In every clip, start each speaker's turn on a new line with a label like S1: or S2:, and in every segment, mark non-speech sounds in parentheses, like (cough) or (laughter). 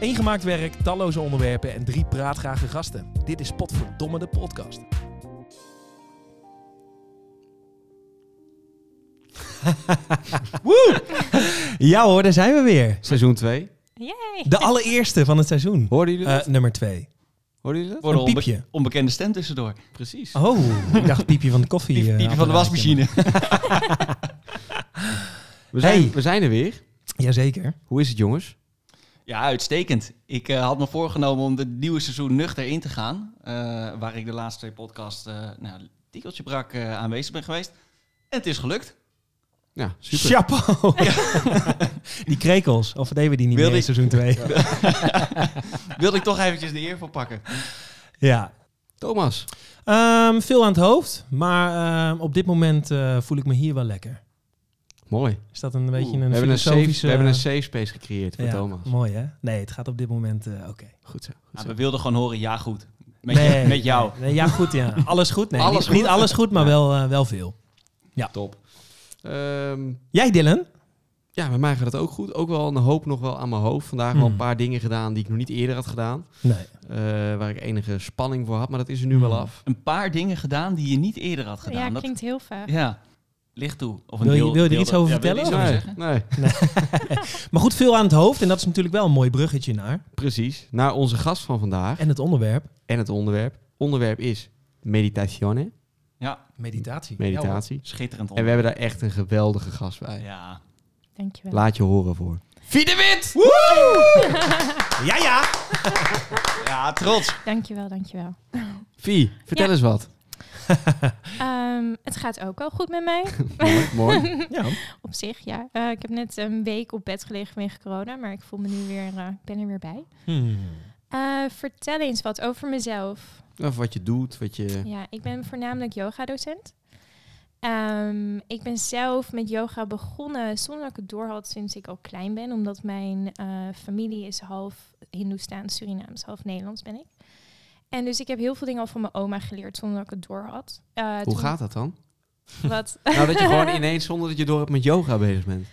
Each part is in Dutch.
S1: Eén gemaakt werk, talloze onderwerpen en drie praatgrage gasten. Dit is Potverdomme de podcast.
S2: (laughs) Woe! Ja hoor, daar zijn we weer.
S3: Seizoen 2.
S4: Yay!
S2: De allereerste van het seizoen.
S3: Hoorden jullie dat?
S2: Eh, nummer twee.
S3: Hoorden jullie dat?
S2: Een piepje.
S5: onbekende stem tussendoor. Precies.
S2: Oh, ik dacht piepje van de koffie.
S5: Piep,
S2: eh,
S5: piepje van de
S2: apparaatje.
S5: wasmachine.
S3: We zijn,
S2: Hey.
S3: we zijn er weer.
S2: Jazeker.
S3: Hoe is het, jongens?
S5: Ja, uitstekend. Ik eh, had me voorgenomen om het nieuwe seizoen nuchter in te gaan. eh, waar ik de laatste twee podcasts eh nou, een tikkeltje brak eh, aanwezig ben geweest. En het is gelukt.
S3: Ja, super.
S2: Chapeau. (laughs) die krekels, of deden we die niet
S5: Wilde
S2: meer in
S5: ik-
S2: seizoen twee? Ja. (laughs)
S5: Wilde ik toch eventjes de eer voor pakken.
S3: Thomas,
S2: Ehm, veel aan het hoofd, maar ehm, op dit moment eh, voel ik me hier wel lekker.
S3: mooi.
S2: Is dat een beetje
S5: Oeh,
S2: een
S3: we, hebben een safe,
S2: filosofische...
S3: we hebben een safe space gecreëerd voor
S2: ja,
S3: Thomas.
S2: Mooi hè? Nee, het gaat op dit moment eh, oké.
S3: Goed zo. Goed
S5: Nou,
S3: zo.
S5: we wilden gewoon horen, ja goed. Met,
S2: Nee.
S5: je- met jou.
S2: Nee, ja goed,
S3: (laughs)
S2: ja. Alles goed? Nee,
S5: Alles
S2: niet,
S5: goed.
S2: niet alles goed, maar wel, eh, wel veel.
S3: Top. Ehm,
S2: Jij Dylan?
S3: ja, met mij gaat het ook goed. Ook wel een hoop nog wel aan mijn hoofd. Vandaag wel
S2: Hmm.
S3: een paar dingen gedaan die ik nog niet eerder had gedaan.
S2: Nee.
S3: eh, waar ik enige spanning voor had, maar dat is er nu wel
S2: Hmm.
S3: af.
S5: Een paar dingen gedaan die je niet eerder had gedaan.
S4: Ja,
S5: Dat-
S4: klinkt heel vaag.
S5: ja. licht toe. Of een
S2: Wil je-
S5: deel-
S2: wil je er
S5: deel-
S2: iets over
S5: Ja, wil je er
S2: vertellen?
S5: iets
S3: nee,
S5: over zeggen?
S3: nee,
S2: Maar goed, veel aan het hoofd. En dat is natuurlijk wel een mooi bruggetje naar.
S3: precies. Naar onze gast van vandaag
S2: En het onderwerp.
S3: en het onderwerp. Onderwerp is meditazione,
S5: Ja,
S2: Meditatie.
S3: meditatie.
S5: schitterend.
S3: en we hebben daar echt een geweldige gast bij.
S5: Ja.
S4: Dankjewel.
S3: Laat je horen voor. (laughs)
S2: Ja, ja.
S5: ja, trots.
S4: Dankjewel, dankjewel.
S3: Vie, vertel
S4: Ja.
S3: eens
S4: (laughs)
S3: wat.
S4: Ehm, het gaat ook wel goed met mij,
S3: mooi, mooi.
S2: ja.
S4: op zich, ja. Eh, ik heb net een week op bed gelegen vanwege corona, maar ik voel me nu weer, eh, ik ben er weer bij.
S2: Hmm.
S4: Eh, vertel eens wat over mezelf.
S3: Of wat je doet, wat je...
S4: Ja, ik ben voornamelijk yoga-docent. Ehm, ik ben zelf met yoga begonnen zonder dat ik het door had sinds ik al klein ben. Omdat mijn eh, familie is half Hindoestaans, Surinaams, half Nederlands ben ik. En dus ik heb heel veel dingen al van mijn oma geleerd zonder dat ik het door had. Eh, toen-
S3: Hoe gaat dat dan?
S4: (laughs) Wat?
S3: Nou, dat je gewoon ineens zonder dat je door hebt met yoga bezig bent.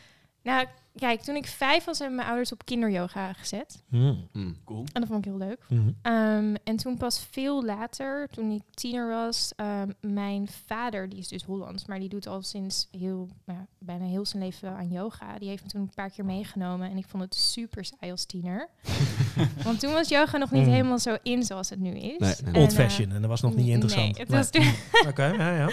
S4: nou, kijk, toen ik vijf was hebben mijn ouders op kinderyoga gezet.
S3: Hmm. Hm.
S5: Cool.
S4: En dat vond ik heel leuk. Ehm, en toen pas veel later, toen ik tiener was, ehm, mijn vader, die is dus Hollands, maar die doet al sinds heel, nou, ja, bijna heel zijn leven wel aan yoga. Die heeft me toen een paar keer meegenomen en ik vond het super saai
S2: (laughs)
S4: als tiener. Want toen was yoga nog niet
S2: Mm.
S4: helemaal zo in zoals het nu is.
S3: Nee, nee.
S4: En,
S2: Old
S4: eh,
S2: fashion. En dat was nog niet
S4: nee,
S2: interessant.
S4: het was
S2: Nee.
S4: toen-
S2: Oké, ja, ja.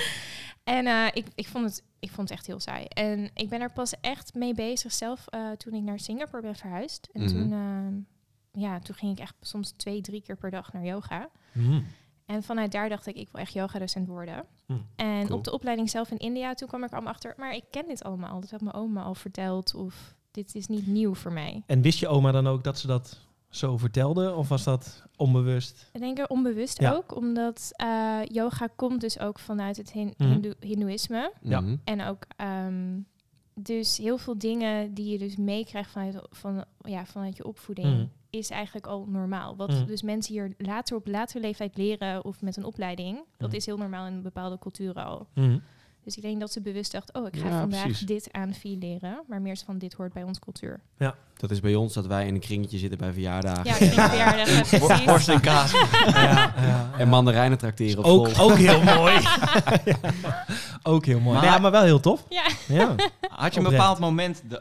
S4: en eh, ik, ik, vond het, ik vond het echt heel saai. En ik ben er pas echt mee bezig zelf eh, toen ik naar Singapore ben verhuisd. En
S3: Mhm.
S4: toen, ehm, ja, toen ging ik echt soms twee, drie keer per dag naar yoga.
S3: Hmm.
S4: En vanuit daar dacht ik, ik wil echt yoga-docent worden.
S2: Hmm,
S4: en
S3: cool.
S4: op de opleiding zelf in India, toen kwam ik er allemaal achter, maar ik ken dit allemaal. Dat had mijn oma al verteld of dit is niet nieuw voor mij.
S2: En wist je oma dan ook dat ze dat zo vertelde? Of was dat onbewust?
S4: Ik denk er onbewust
S2: Ja.
S4: ook, omdat eh, yoga komt dus ook vanuit het hin-
S2: Mhm.
S4: Hindoe- Hindoeïsme.
S2: Ja.
S3: Mhm.
S4: En ook ehm, dus heel veel dingen die je dus meekrijgt vanuit, van, ja, vanuit je opvoeding.
S2: Mhm.
S4: Is eigenlijk al normaal. Wat
S2: Mhm.
S4: dus mensen hier later op latere leeftijd leren of met een opleiding, dat
S2: Mhm.
S4: is heel normaal in bepaalde culturen al.
S3: Hmm.
S4: Dus ik denk dat ze bewust dacht, oh, ik ga
S3: Ja,
S4: vandaag
S3: precies.
S4: dit aan Vie leren. Maar meer is van, dit hoort bij ons cultuur.
S3: Dat is bij ons dat wij in een kringetje zitten bij
S2: Ah.
S3: verjaardagen.
S4: Ja, ik
S2: (laughs)
S4: denk verjaardag, ja, precies.
S5: Worst en kaas.
S2: Ja, ja.
S3: En mandarijnen trakteren op
S2: Ook,
S3: school.
S2: ook (laughs) heel mooi. Ja. Ook heel mooi.
S5: Maar-
S2: ja, maar wel heel tof.
S4: Ja.
S2: Ja.
S5: Had je
S2: Oprecht.
S5: een bepaald moment da-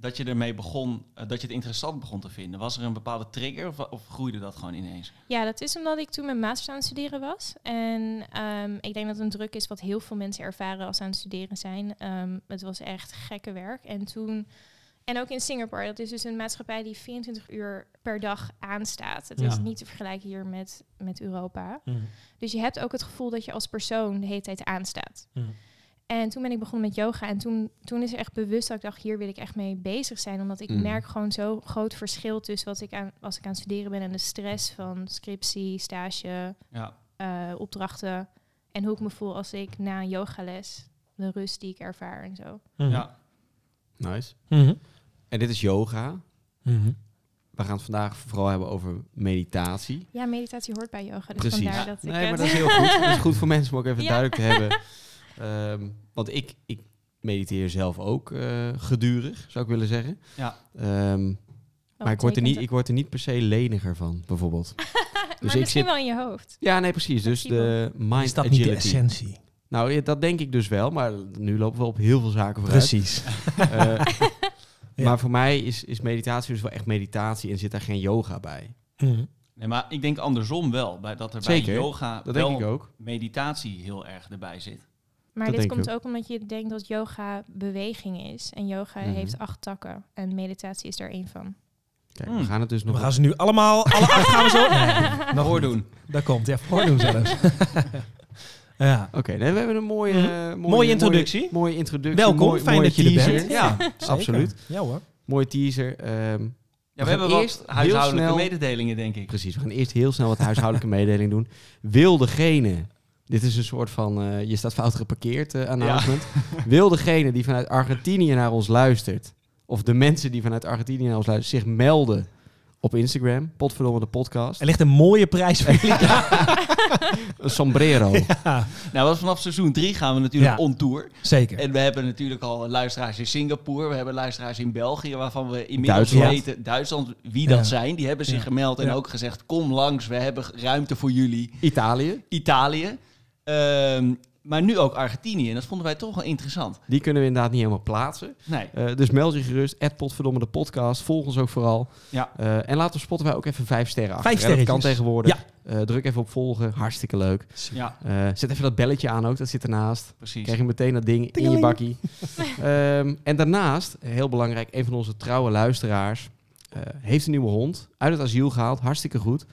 S5: dat je ermee begon, eh, dat je het interessant begon te vinden? Was er een bepaalde trigger of, of groeide dat gewoon ineens?
S4: ja, dat is omdat ik toen mijn master aan het studeren was. En ehm, ik denk dat het een druk is wat heel veel mensen ervaren als ze aan het studeren zijn. Ehm, het was echt gekke werk. En toen... En ook in Singapore, dat is dus een maatschappij die 24 uur per dag aanstaat. Het is
S2: Ja.
S4: niet te vergelijken hier met, met Europa.
S2: Mhm.
S4: Dus je hebt ook het gevoel dat je als persoon de hele tijd aanstaat. En toen ben ik begonnen met yoga. En toen, toen is er echt bewust dat ik dacht, hier wil ik echt mee bezig zijn. Omdat ik
S3: Mhm.
S4: merk gewoon zo'n groot verschil tussen wat ik aan, als ik aan het studeren ben en de stress van scriptie, stage,
S5: Ja.
S4: eh, opdrachten. En hoe ik me voel als ik na een yogales, de rust die ik ervaar en zo.
S5: ja.
S3: Nice.
S2: Mhm.
S3: En dit is yoga.
S2: Mhm.
S3: We gaan het vandaag vooral hebben over meditatie.
S4: Ja, meditatie hoort bij yoga. Dus
S3: Precies.
S4: vandaar Oh, dat ik
S3: nee, maar
S4: het- (laughs)
S3: dat is heel goed. Dat is goed voor mensen om ook even
S4: Ja.
S3: duidelijk te
S4: (laughs)
S3: hebben. Ehm, want ik, ik mediteer zelf ook eh, gedurig, zou ik willen zeggen.
S5: Ja.
S3: Ehm,
S4: Oh,
S3: Maar ik word, er niet, ik word er niet per se leniger van, bijvoorbeeld.
S4: maar
S3: ik
S4: misschien
S3: zit-
S4: wel in je hoofd.
S3: Ja, nee, precies. Dus de mind
S2: Mhm. Is dat
S3: agility.
S2: niet de essentie?
S3: Nou, ja, dat denk ik dus wel, maar nu lopen we op heel veel zaken vooruit.
S2: Precies. (laughs)
S3: Eh, (laughs)
S2: Ja.
S3: Maar voor mij is, is meditatie dus wel echt meditatie en zit daar geen yoga bij.
S2: Mhm.
S5: Nee, maar ik denk andersom wel. Bij, dat er
S3: Zeker,
S5: bij yoga
S3: Dat
S5: wel
S3: denk ik ook.
S5: meditatie heel erg erbij zit.
S3: Dat
S4: Maar dit
S3: denk ik
S4: komt ook omdat je denkt dat yoga beweging is. En yoga
S3: Mhm.
S4: heeft acht takken. En meditatie is daar één van.
S3: Kijk, we
S5: Hmm.
S3: gaan het dus nog...
S2: We gaan ze nu allemaal, alle acht gaan we zo...
S5: Nog
S2: Nee, nog niet.
S5: Voordoen.
S2: Daar komt, ja, voordoen zelfs. (laughs) ja.
S3: Oké, nee, we hebben een mooie...
S2: Mhm.
S3: eh,
S2: Mooie introductie.
S3: Mooie, introductie.
S2: Welkom,
S3: mooi-
S2: fijn
S3: mooie
S2: dat je er
S3: teaser.
S2: bent.
S3: Ja,
S2: Zeker.
S3: absoluut.
S2: Ja hoor.
S3: Mooie teaser. ehm,
S5: Ja,
S3: We
S5: we
S3: gaan
S5: hebben wat
S3: eerst heel
S5: huishoudelijke
S3: snel-
S5: mededelingen, denk ik.
S3: Precies, we gaan eerst heel snel wat
S2: (laughs)
S3: huishoudelijke mededeling doen. Wil degene, dit is een soort van eh, je staat fout geparkeerd eh,
S2: (laughs)
S3: announcement. Wil degene die vanuit Argentinië naar ons luistert, of de mensen die vanuit Argentinië naar ons luisteren, zich melden op Instagram, potverdomme de podcast,
S2: Er ligt een mooie prijs voor jullie. (laughs)
S3: een sombrero.
S5: Nou, want vanaf seizoen 3 gaan we natuurlijk
S2: Ja.
S5: on tour.
S2: (laughs) Zeker.
S5: En we hebben natuurlijk al luisteraars in Singapore. We hebben luisteraars in België, waarvan we inmiddels
S3: Duitsland.
S5: weten... Duitsland, wie
S2: Ja.
S5: dat zijn. Die hebben zich
S2: Ja.
S5: gemeld en
S2: Ja.
S5: ook gezegd... kom langs, we hebben g- ruimte voor jullie.
S3: Italië,
S5: Italië. Ehm, maar nu ook Argentinië. En dat vonden wij toch wel interessant.
S3: die kunnen we inderdaad niet helemaal plaatsen.
S5: Nee,
S3: Eh, dus meld je gerust, at potverdomme de podcast, volg ons ook vooral.
S5: Ja.
S3: Eh, en laat op Spotify ook even vijf sterren achter.
S2: Vijf
S3: hè, dat kan
S2: sterretjes.
S3: tegenwoordig. Eh, druk even op volgen, hartstikke leuk.
S5: ja,
S3: Eh, zet even dat belletje aan ook, dat zit ernaast.
S5: precies.
S3: krijg je meteen dat ding in je
S2: Tingeling.
S3: bakkie. Ehm, en daarnaast, heel belangrijk, een van onze trouwe luisteraars eh, heeft een nieuwe hond. Uit het asiel gehaald, hartstikke goed.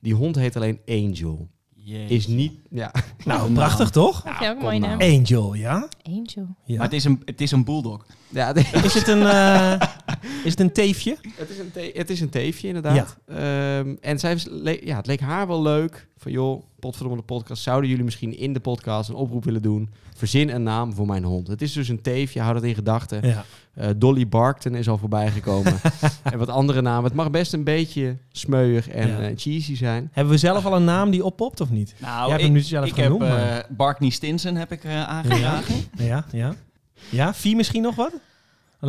S3: Die hond heet alleen Angel.
S5: Jeetje.
S3: Is niet, ja, (laughs)
S2: Nou, prachtig toch?
S4: dat vind ik ook een
S3: kom
S4: mooie
S3: nou.
S4: naam.
S2: Angel, ja?
S4: Angel.
S2: ja.
S5: Maar het is, een, het is een bulldog.
S3: ja
S2: Is het een, eh, is het een teefje?
S3: het, is een te- het is een teefje inderdaad. Ehm, en zij, was- le- ja, het leek haar wel leuk. Van joh, potverdomme de podcast. Zouden jullie misschien in de podcast een oproep willen doen? Verzin een naam voor mijn hond. Het is dus een teefje, hou dat in gedachten.
S2: Ja.
S3: Eh, Dolly Barkton is al voorbij gekomen. en wat andere namen. Het mag best een beetje smeuig en
S2: Ja.
S3: eh, cheesy zijn.
S2: Hebben we zelf al een naam die oppopt of niet?
S5: Nou,
S2: Jij hebt
S5: ik,
S2: hem nu zelf
S5: ik heb
S2: genoemd, maar-
S5: eh, Barkney Stinson heb ik eh, aangedragen.
S2: Ja, ja. Ja, Vie misschien nog wat? Een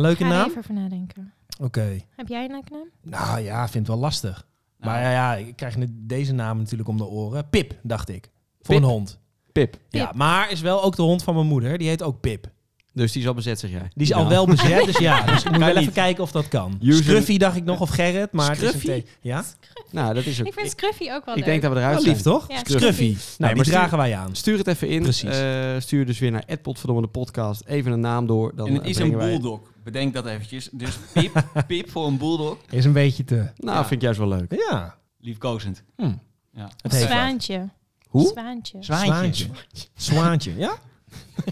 S4: Ik
S2: leuke
S4: ga er
S2: naam?
S4: even over nadenken.
S2: Oké.
S4: Heb jij een leuke naam?
S2: Nou ja, vind het wel lastig. Maar ja, ja, ik krijg net deze naam natuurlijk om de oren. Pip, dacht ik. Voor
S3: Pip.
S2: een hond.
S3: Pip.
S2: Ja, maar is wel ook de hond van mijn moeder. Die heet ook Pip.
S3: Dus die is al bezet, zeg jij.
S2: Die is al
S3: Nou,
S2: wel bezet, dus ja. Dus ik moet
S5: Kan
S2: wel
S5: niet.
S2: even kijken of dat kan.
S3: User-
S2: Scruffy dacht ik nog, of Gerrit. Maar Het is
S3: Scruffy?
S2: een te- ja?
S3: Nou, dat is het.
S4: Ik vind Scruffy ook wel
S3: Ik
S4: leuk.
S3: denk dat we eruit
S2: Wel
S3: zijn.
S2: lief, toch?
S4: Ja,
S2: Scruffy.
S4: Scruffy.
S2: Nou,
S3: maar
S2: die
S3: stuur-
S2: dragen wij aan.
S3: Stuur het even in.
S2: Precies.
S3: Eh, stuur dus weer naar Potverdomme de podcast. Even een naam door. Dan eh,
S5: En het is een
S3: brengen wij-
S5: bulldog. Bedenk dat eventjes. Dus (laughs) pip, pip voor een bulldog.
S2: Is een beetje te...
S3: Nou,
S5: Ja.
S3: vind ik juist wel leuk.
S2: Ja.
S5: Liefkozend.
S3: Hm.
S5: Ja.
S2: Het
S4: Of
S2: heeft wat.
S4: Zwaantje.
S3: Hoe?
S4: Zwaantje.
S5: Zwaantje.
S2: Zwaantje, ja?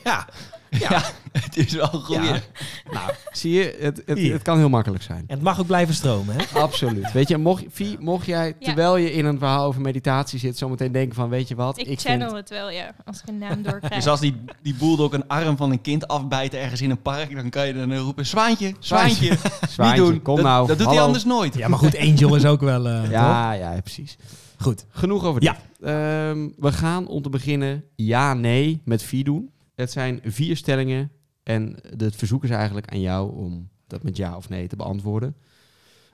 S2: (laughs) Ja.
S5: (laughs) Het is wel goed.
S2: Ja.
S3: Nou, zie je, het, het,
S2: Hier.
S3: het kan heel makkelijk zijn.
S2: En het mag ook blijven stromen, hè?
S3: Absoluut. Weet je, mocht, Vie, mocht jij, terwijl je in een verhaal over meditatie zit, zometeen denken van, weet je wat,
S4: Ik,
S3: ik
S4: channel
S3: vind...
S4: het wel, ja. Als ik een naam
S5: (laughs)
S4: doorkrijg.
S5: Dus als die, die bulldog een arm van een kind afbijt ergens in een park, dan kan je dan eh, roepen: Zwaantje, zwaantje. Niet
S3: Zwaantje,
S5: doen.
S3: kom
S5: dat,
S3: nou.
S5: Dat doet
S3: Hallo.
S5: hij anders nooit.
S2: Ja, maar goed, Angel is ook wel... eh, toch?
S3: Ja, ja, precies.
S2: Goed.
S3: Genoeg over dit.
S2: Ja.
S3: Ehm, we gaan om te beginnen ja, nee met vier doen. Het zijn vier stellingen en het verzoek is eigenlijk aan jou om dat met ja of nee te beantwoorden.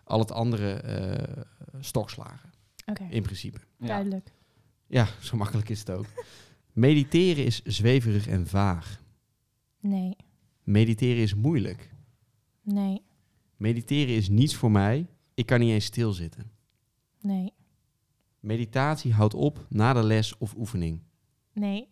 S3: Al het andere eh, stokslagen,
S4: Oké,
S3: in principe.
S5: Ja.
S4: duidelijk.
S3: Ja, zo makkelijk is het ook. Mediteren is zweverig en vaag.
S4: Nee,
S3: Mediteren is moeilijk.
S4: nee,
S3: Mediteren is niets voor mij. Ik kan niet eens stilzitten.
S4: nee,
S3: Meditatie houdt op na de les of oefening.
S4: nee.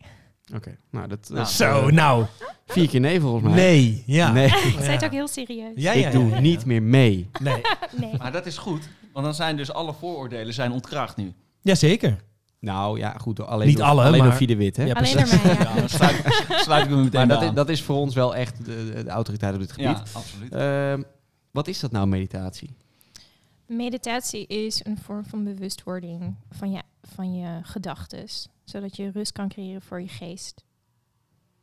S3: Oké, nou dat
S5: Nou,
S3: is
S2: Zo, nou.
S3: vier keer nee volgens mij.
S2: Nee. Ja.
S3: Nee.
S4: Ik zei het ook heel serieus.
S2: Ja,
S3: ik
S2: ja, ja,
S3: doe
S2: ja, ja.
S3: niet meer mee.
S2: Nee.
S4: Nee.
S5: Maar dat is goed, want dan zijn dus alle vooroordelen zijn ontkracht nu.
S2: Jazeker.
S3: Nou ja, goed. Alleen
S2: Niet
S3: door,
S2: alle,
S3: alleen
S2: maar-
S3: door Vie de Wit, hè?
S2: Ja,
S4: Alleen door
S2: precies.
S4: mij,
S5: Ja,
S4: ja.
S5: dan sluit, sluit ik me meteen (laughs)
S3: maar dat
S5: bij
S3: is,
S5: aan.
S3: dat is voor ons wel echt de, de autoriteit op dit gebied.
S5: Ja, absoluut.
S3: Ehm, wat is dat nou, meditatie?
S4: Meditatie is een vorm van bewustwording van je, van je gedachten. Zodat je rust kan creëren voor je geest.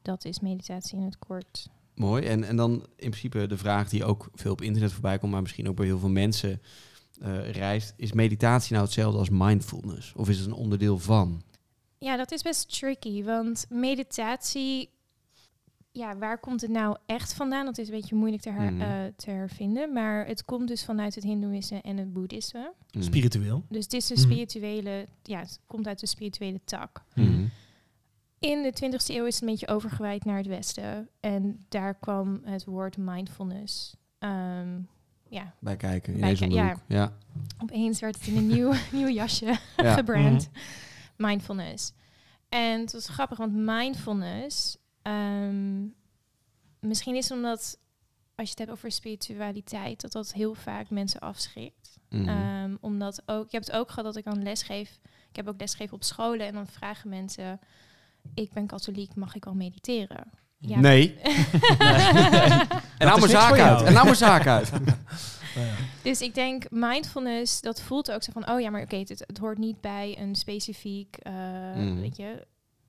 S4: Dat is meditatie in het kort.
S3: Mooi. En, en dan in principe de vraag die ook veel op internet voorbij komt, maar misschien ook bij heel veel mensen eh, reist. Is meditatie nou hetzelfde als mindfulness? Of is het een onderdeel van?
S4: Ja, dat is best tricky, want meditatie ja, waar komt het nou echt vandaan? Dat is een beetje moeilijk te, her-
S3: Mhm.
S4: eh, te hervinden. Maar het komt dus vanuit het Hindoeïsme en het Boeddhisme.
S2: (laughs)
S3: Mm.
S2: Spiritueel.
S4: Dus het is een
S2: Mhm.
S4: spirituele, ja, het komt uit de spirituele tak.
S3: Mhm.
S4: In de 20e eeuw is het een beetje overgewaaid naar het Westen. En daar kwam het woord mindfulness. Ehm, ja,
S3: Bij kijken,
S4: Bij
S3: ineens
S4: ki-
S3: om de
S4: ja.
S3: hoek. Ja.
S4: opeens werd het
S3: (laughs)
S4: in een nieuw, nieuw jasje
S3: Ja.
S4: (laughs)
S3: Mhm.
S4: gebrand. Mindfulness. En het was grappig, want mindfulness... ehm, misschien is het omdat, als je het hebt over spiritualiteit... dat dat heel vaak mensen afschrikt.
S3: Mhm.
S4: Ehm, omdat ook, ik heb het ook gehad dat ik aan lesgeef. Ik heb ook lesgegeven op scholen en dan vragen mensen: Ik ben katholiek, mag ik al mediteren? Ja, (laughs)
S3: Nee. (laughs) En nou
S2: is
S3: mijn
S2: niks
S3: zaak
S2: voor
S3: uit.
S2: jou.
S3: En nou (laughs) mijn zaak uit.
S4: Dus ik denk, mindfulness, dat voelt ook zo van: Oh ja, maar oké, het, het hoort niet bij een specifiek, eh,
S3: Mm.
S4: weet je.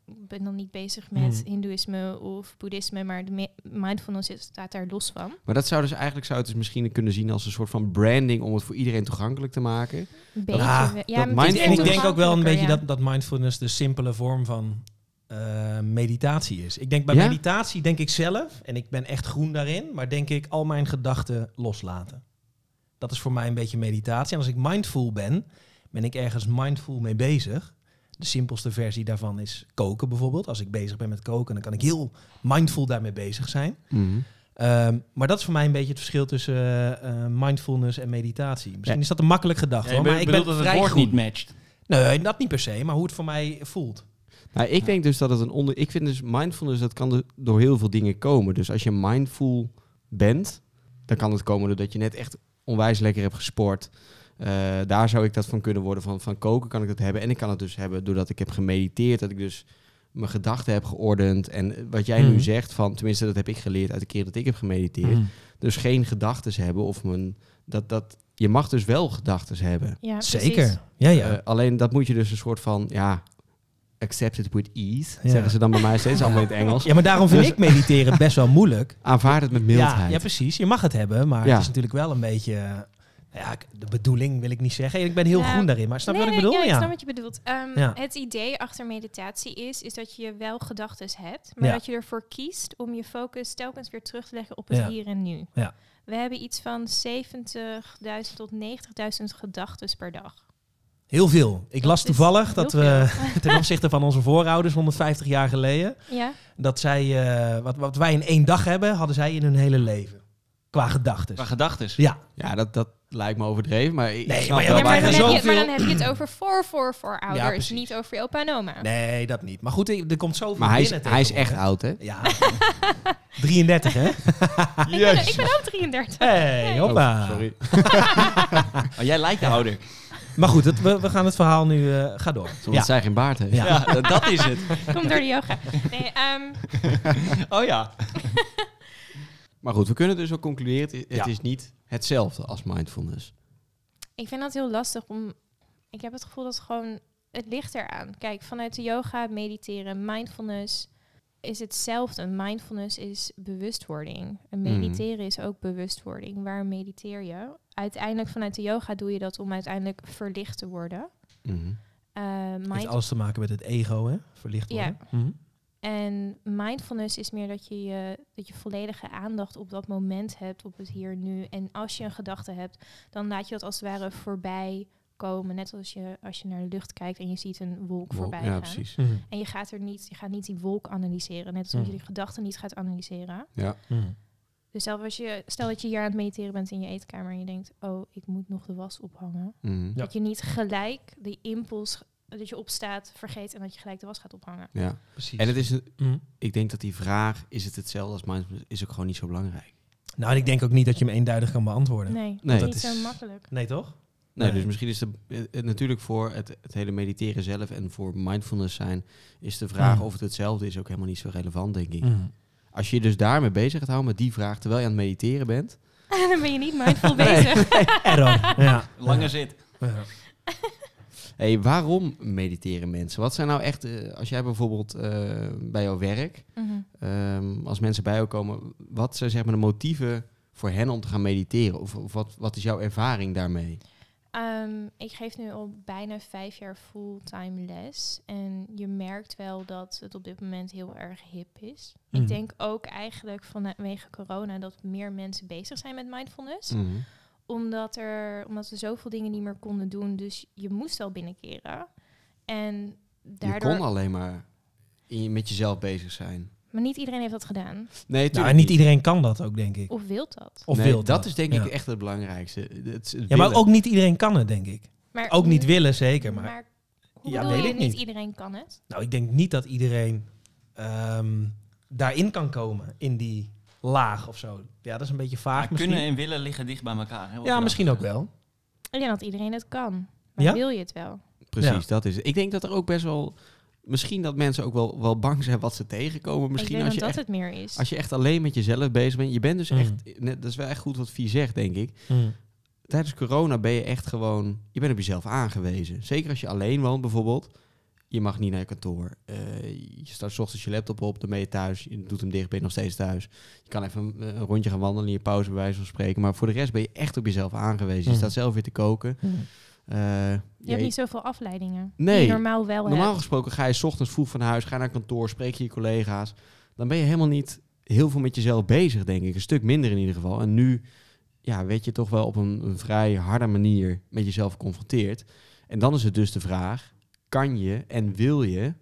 S4: Ik ben dan niet bezig met
S2: Mm.
S4: Hindoeïsme of Boeddhisme, maar de me- mindfulness is- staat daar los van.
S3: Maar dat zou dus eigenlijk zou het dus misschien kunnen zien als een soort van branding om het voor iedereen toegankelijk te maken.
S4: Een beetje,
S2: Ah,
S4: we-
S3: dat
S4: maar het is
S2: En ik denk ook wel een
S4: toegankelijker,
S2: beetje
S4: ja.
S2: dat, dat mindfulness de simpele vorm van eh, meditatie is. Ik denk bij
S3: Ja?
S2: meditatie denk ik zelf, en ik ben echt groen daarin, maar denk ik al mijn gedachten loslaten. Dat is voor mij een beetje meditatie. En als ik mindful ben, ben ik ergens mindful mee bezig. De simpelste versie daarvan is koken bijvoorbeeld. Als ik bezig ben met koken, dan kan ik heel mindful daarmee bezig zijn. Ehm, maar dat is voor mij een beetje het verschil tussen eh, eh, mindfulness en meditatie. Misschien
S5: Ja.
S2: is dat een makkelijk gedachte,
S5: Ja,
S2: hoor,
S5: je
S2: maar ik ben
S5: bedoelt dat het
S2: vrij
S5: woord
S2: groen.
S5: niet matcht.
S2: Nee, dat niet per se, maar hoe het voor mij voelt.
S3: Maar ik denk dus dat het een onder. Ik vind dus mindfulness dat kan do- door heel veel dingen komen. Dus als je mindful bent, dan kan het komen doordat je net echt onwijs lekker hebt gesport. Eh, daar zou ik dat van kunnen worden. Van, van koken kan ik dat hebben. En ik kan het dus hebben doordat ik heb gemediteerd. Dat ik dus mijn gedachten heb geordend. En eh, wat jij nu
S2: Mhm.
S3: zegt van, tenminste dat heb ik geleerd uit de keer dat ik heb gemediteerd. Dus geen gedachten hebben of mijn. Dat, dat, je mag dus wel gedachten hebben.
S4: Ja, precies.
S2: Zeker. Ja, ja.
S3: Eh, alleen dat moet je dus een soort van, ja, accept it with ease,
S2: Ja.
S3: zeggen ze dan bij
S2: (laughs)
S3: mij steeds, allemaal in het Engels.
S2: ja, maar daarom vind
S3: Dus-
S2: ik mediteren best wel moeilijk.
S3: Aanvaard het met mildheid.
S2: Ja, ja, precies. Je mag het hebben, maar
S3: Ja.
S2: het is natuurlijk wel een beetje... eh, nou Ja, ik- de bedoeling wil ik niet zeggen. Ik ben heel
S4: Ja.
S2: groen daarin, maar snap je
S4: Nee,
S2: wat ik
S4: nee,
S2: bedoel?
S4: Ja, ik
S2: Ja,
S4: snap wat je bedoelt. Ehm,
S2: Ja.
S4: Het idee achter meditatie is, is dat je wel gedachten hebt, maar
S2: Ja.
S4: dat je ervoor kiest om je focus telkens weer terug te leggen op het
S2: Ja.
S4: hier en nu.
S2: Ja.
S4: We hebben iets van 70.000 tot 90.000 gedachten per dag.
S2: Heel veel. Ik las
S4: is
S2: toevallig dat
S4: heel
S2: we (laughs) ten opzichte van onze voorouders 150 jaar geleden...
S4: Ja,
S2: dat zij, eh, wat, wat wij in één dag hebben, hadden zij in hun hele leven. Qua gedachten.
S5: Qua gedachten.
S2: Ja,
S3: Ja, dat, dat lijkt me overdreven, maar ik
S2: Nee,
S3: snap
S2: maar ja,
S3: wel
S2: wij
S4: maar,
S3: waar
S2: hebben
S4: dan heb
S3: je-
S2: zo-
S4: je,
S2: zoveel-
S4: maar dan heb je (clears throat) het over voor voor
S2: Ja,
S4: voorouders,
S2: precies.
S4: niet over je opa en oma.
S2: nee, dat niet. Maar goed, er komt zoveel
S3: Maar hij is,
S2: binnen
S3: hij is echt
S2: tegenwoordig.
S3: oud, hè?
S2: Ja. (laughs) 33, hè?
S4: Ik, ben, ik ben ook 33.
S2: Hey, hoppa.
S3: Oh, sorry.
S5: Oh, jij lijkt ouder.
S2: Maar goed, het- we, we gaan het verhaal nu... eh, ga door.
S3: Zodat zij geen baard heeft.
S2: Ja.
S5: Ja, dat- dat is het.
S4: Kom door de yoga. Nee, ehm,
S5: Oh ja.
S3: Maar goed, we kunnen dus ook concluderen, het het
S2: Ja.
S3: is niet hetzelfde als mindfulness.
S4: Ik vind dat heel lastig om. Ik heb het gevoel dat het gewoon. Het ligt eraan. Kijk, vanuit de yoga, mediteren, mindfulness is hetzelfde. Mindfulness is bewustwording. En
S3: Mhm.
S4: mediteren is ook bewustwording. Waar mediteer je? Uiteindelijk vanuit de yoga doe je dat om uiteindelijk verlicht te worden.
S3: Mhm.
S4: Eh,
S2: Het heeft
S4: mind-
S2: alles te maken met het ego, hè? Verlicht
S4: Ja.
S2: worden.
S4: en mindfulness is meer dat je, je dat je volledige aandacht op dat moment hebt, op het hier en nu. En als je een gedachte hebt, dan laat je dat als het ware voorbij komen. Net als je, als je naar de lucht kijkt en je ziet een wolk voorbij
S3: Ja,
S4: gaan.
S3: precies.
S4: En je gaat er niet, je gaat niet die wolk analyseren. Net zoals
S2: Mm.
S4: je die gedachten niet gaat analyseren.
S3: Ja.
S4: Dus zelfs als je, stel dat je hier aan het mediteren bent in je eetkamer en je denkt, oh, ik moet nog de was ophangen.
S3: Mhm.
S2: Ja.
S4: Dat je niet gelijk die impuls dat je opstaat, vergeet en dat je gelijk de was gaat ophangen.
S3: ja.
S2: Precies.
S3: En het is, een-
S2: Mhm.
S3: ik denk dat die vraag, is het hetzelfde als mindfulness, is ook gewoon niet zo belangrijk.
S2: Nou, en ik denk ook niet dat je hem eenduidig kan beantwoorden. Nee,
S4: Nee,
S3: Nee.
S4: dat
S2: Dat
S4: is niet
S2: is-
S4: zo makkelijk. (laughs)
S2: toch?
S3: Nee,
S2: Nee.
S3: dus misschien is de, eh, eh, natuurlijk voor het, het hele mediteren zelf en voor mindfulness zijn, is de vraag
S2: Mm.
S3: of het hetzelfde is ook helemaal niet zo relevant, denk ik. Als je je dus daarmee bezig gaat houden met die vraag terwijl je aan het mediteren bent.
S4: Dan ben je niet
S2: (laughs)
S4: mindful bezig.
S3: (laughs)
S2: Error. Ja.
S5: Langer zit.
S2: Ja.
S3: hey, waarom mediteren mensen? Wat zijn nou echt, eh, als jij bijvoorbeeld eh, bij jouw werk,
S4: Mhm.
S3: ehm, als mensen bij jou komen, wat zijn zeg maar de motieven voor hen om te gaan mediteren? Of, of wat, wat is jouw ervaring daarmee?
S4: Ehm, ik geef nu al bijna vijf jaar fulltime les. En je merkt wel dat het op dit moment heel erg hip is.
S2: Mhm.
S4: Ik denk ook eigenlijk vanwege corona dat meer mensen bezig zijn met mindfulness.
S3: Mhm.
S4: Omdat, er, omdat we zoveel dingen niet meer konden doen. Dus je moest wel binnenkeren. En
S3: Je
S4: daardoor...
S3: kon alleen maar in- met jezelf bezig zijn.
S4: Maar niet iedereen heeft dat gedaan.
S3: Nee,
S2: Nou,
S3: tuurlijk
S2: en niet iedereen kan dat ook, denk ik.
S4: Of wil dat.
S2: Of
S3: Nee,
S2: wil
S3: dat is denk ik
S2: Ja.
S3: echt het belangrijkste. Het- het
S2: Ja, maar
S3: willen.
S2: ook niet iedereen kan het, denk ik.
S4: Maar
S2: Ook niet willen, zeker. Maar
S4: Maar hoe
S2: Ja,
S4: bedoel
S2: weet
S4: je
S2: ik
S4: niet
S2: niet.
S4: iedereen kan het?
S2: Nou, ik denk niet dat iedereen ehm, daarin kan komen, in die laag of zo. Ja, dat is een beetje vaag
S5: Maar
S2: misschien.
S5: kunnen en willen liggen dicht bij elkaar. hè, wat
S2: ja,
S5: we
S2: misschien ook
S5: dachten.
S2: wel.
S4: Ik denk dat iedereen het kan. Maar
S2: Ja?
S4: wil je het wel?
S3: Precies,
S2: Ja.
S3: dat is het. Ik denk dat er ook best wel... Misschien dat mensen ook wel, wel bang zijn wat ze tegenkomen. Misschien
S4: ik denk
S3: als
S4: dat
S3: je,
S4: dat
S3: echt,
S4: het meer is.
S3: als je echt alleen met jezelf bezig bent. Je bent dus
S2: Mm.
S3: echt... net- Dat is wel echt goed wat Vie zegt, denk ik.
S4: Hmm.
S3: Tijdens corona ben je echt gewoon... Je bent op jezelf aangewezen. Zeker als je alleen woont bijvoorbeeld. Je mag niet naar je kantoor. Eh, je start 's ochtends je laptop op, dan ben je thuis. Je doet hem dicht, ben je nog steeds thuis. Je kan even een, een rondje gaan wandelen in je pauze bij wijze van spreken. Maar voor de rest ben je echt op jezelf aangewezen. Je
S2: Mm.
S3: staat zelf weer te koken.
S2: Hmm.
S3: Eh,
S4: Je hebt
S3: je-
S4: niet zoveel afleidingen.
S3: Nee.
S4: Die je normaal wel
S3: Normaal
S4: hebt.
S3: gesproken ga je 's ochtends vroeg van huis, ga naar kantoor, spreek je je collega's. Dan ben je helemaal niet heel veel met jezelf bezig, denk ik. Een stuk minder in ieder geval. En nu ja, weet je toch wel op een, een vrij harde manier met jezelf geconfronteerd. En dan is het dus de vraag, kan je en wil je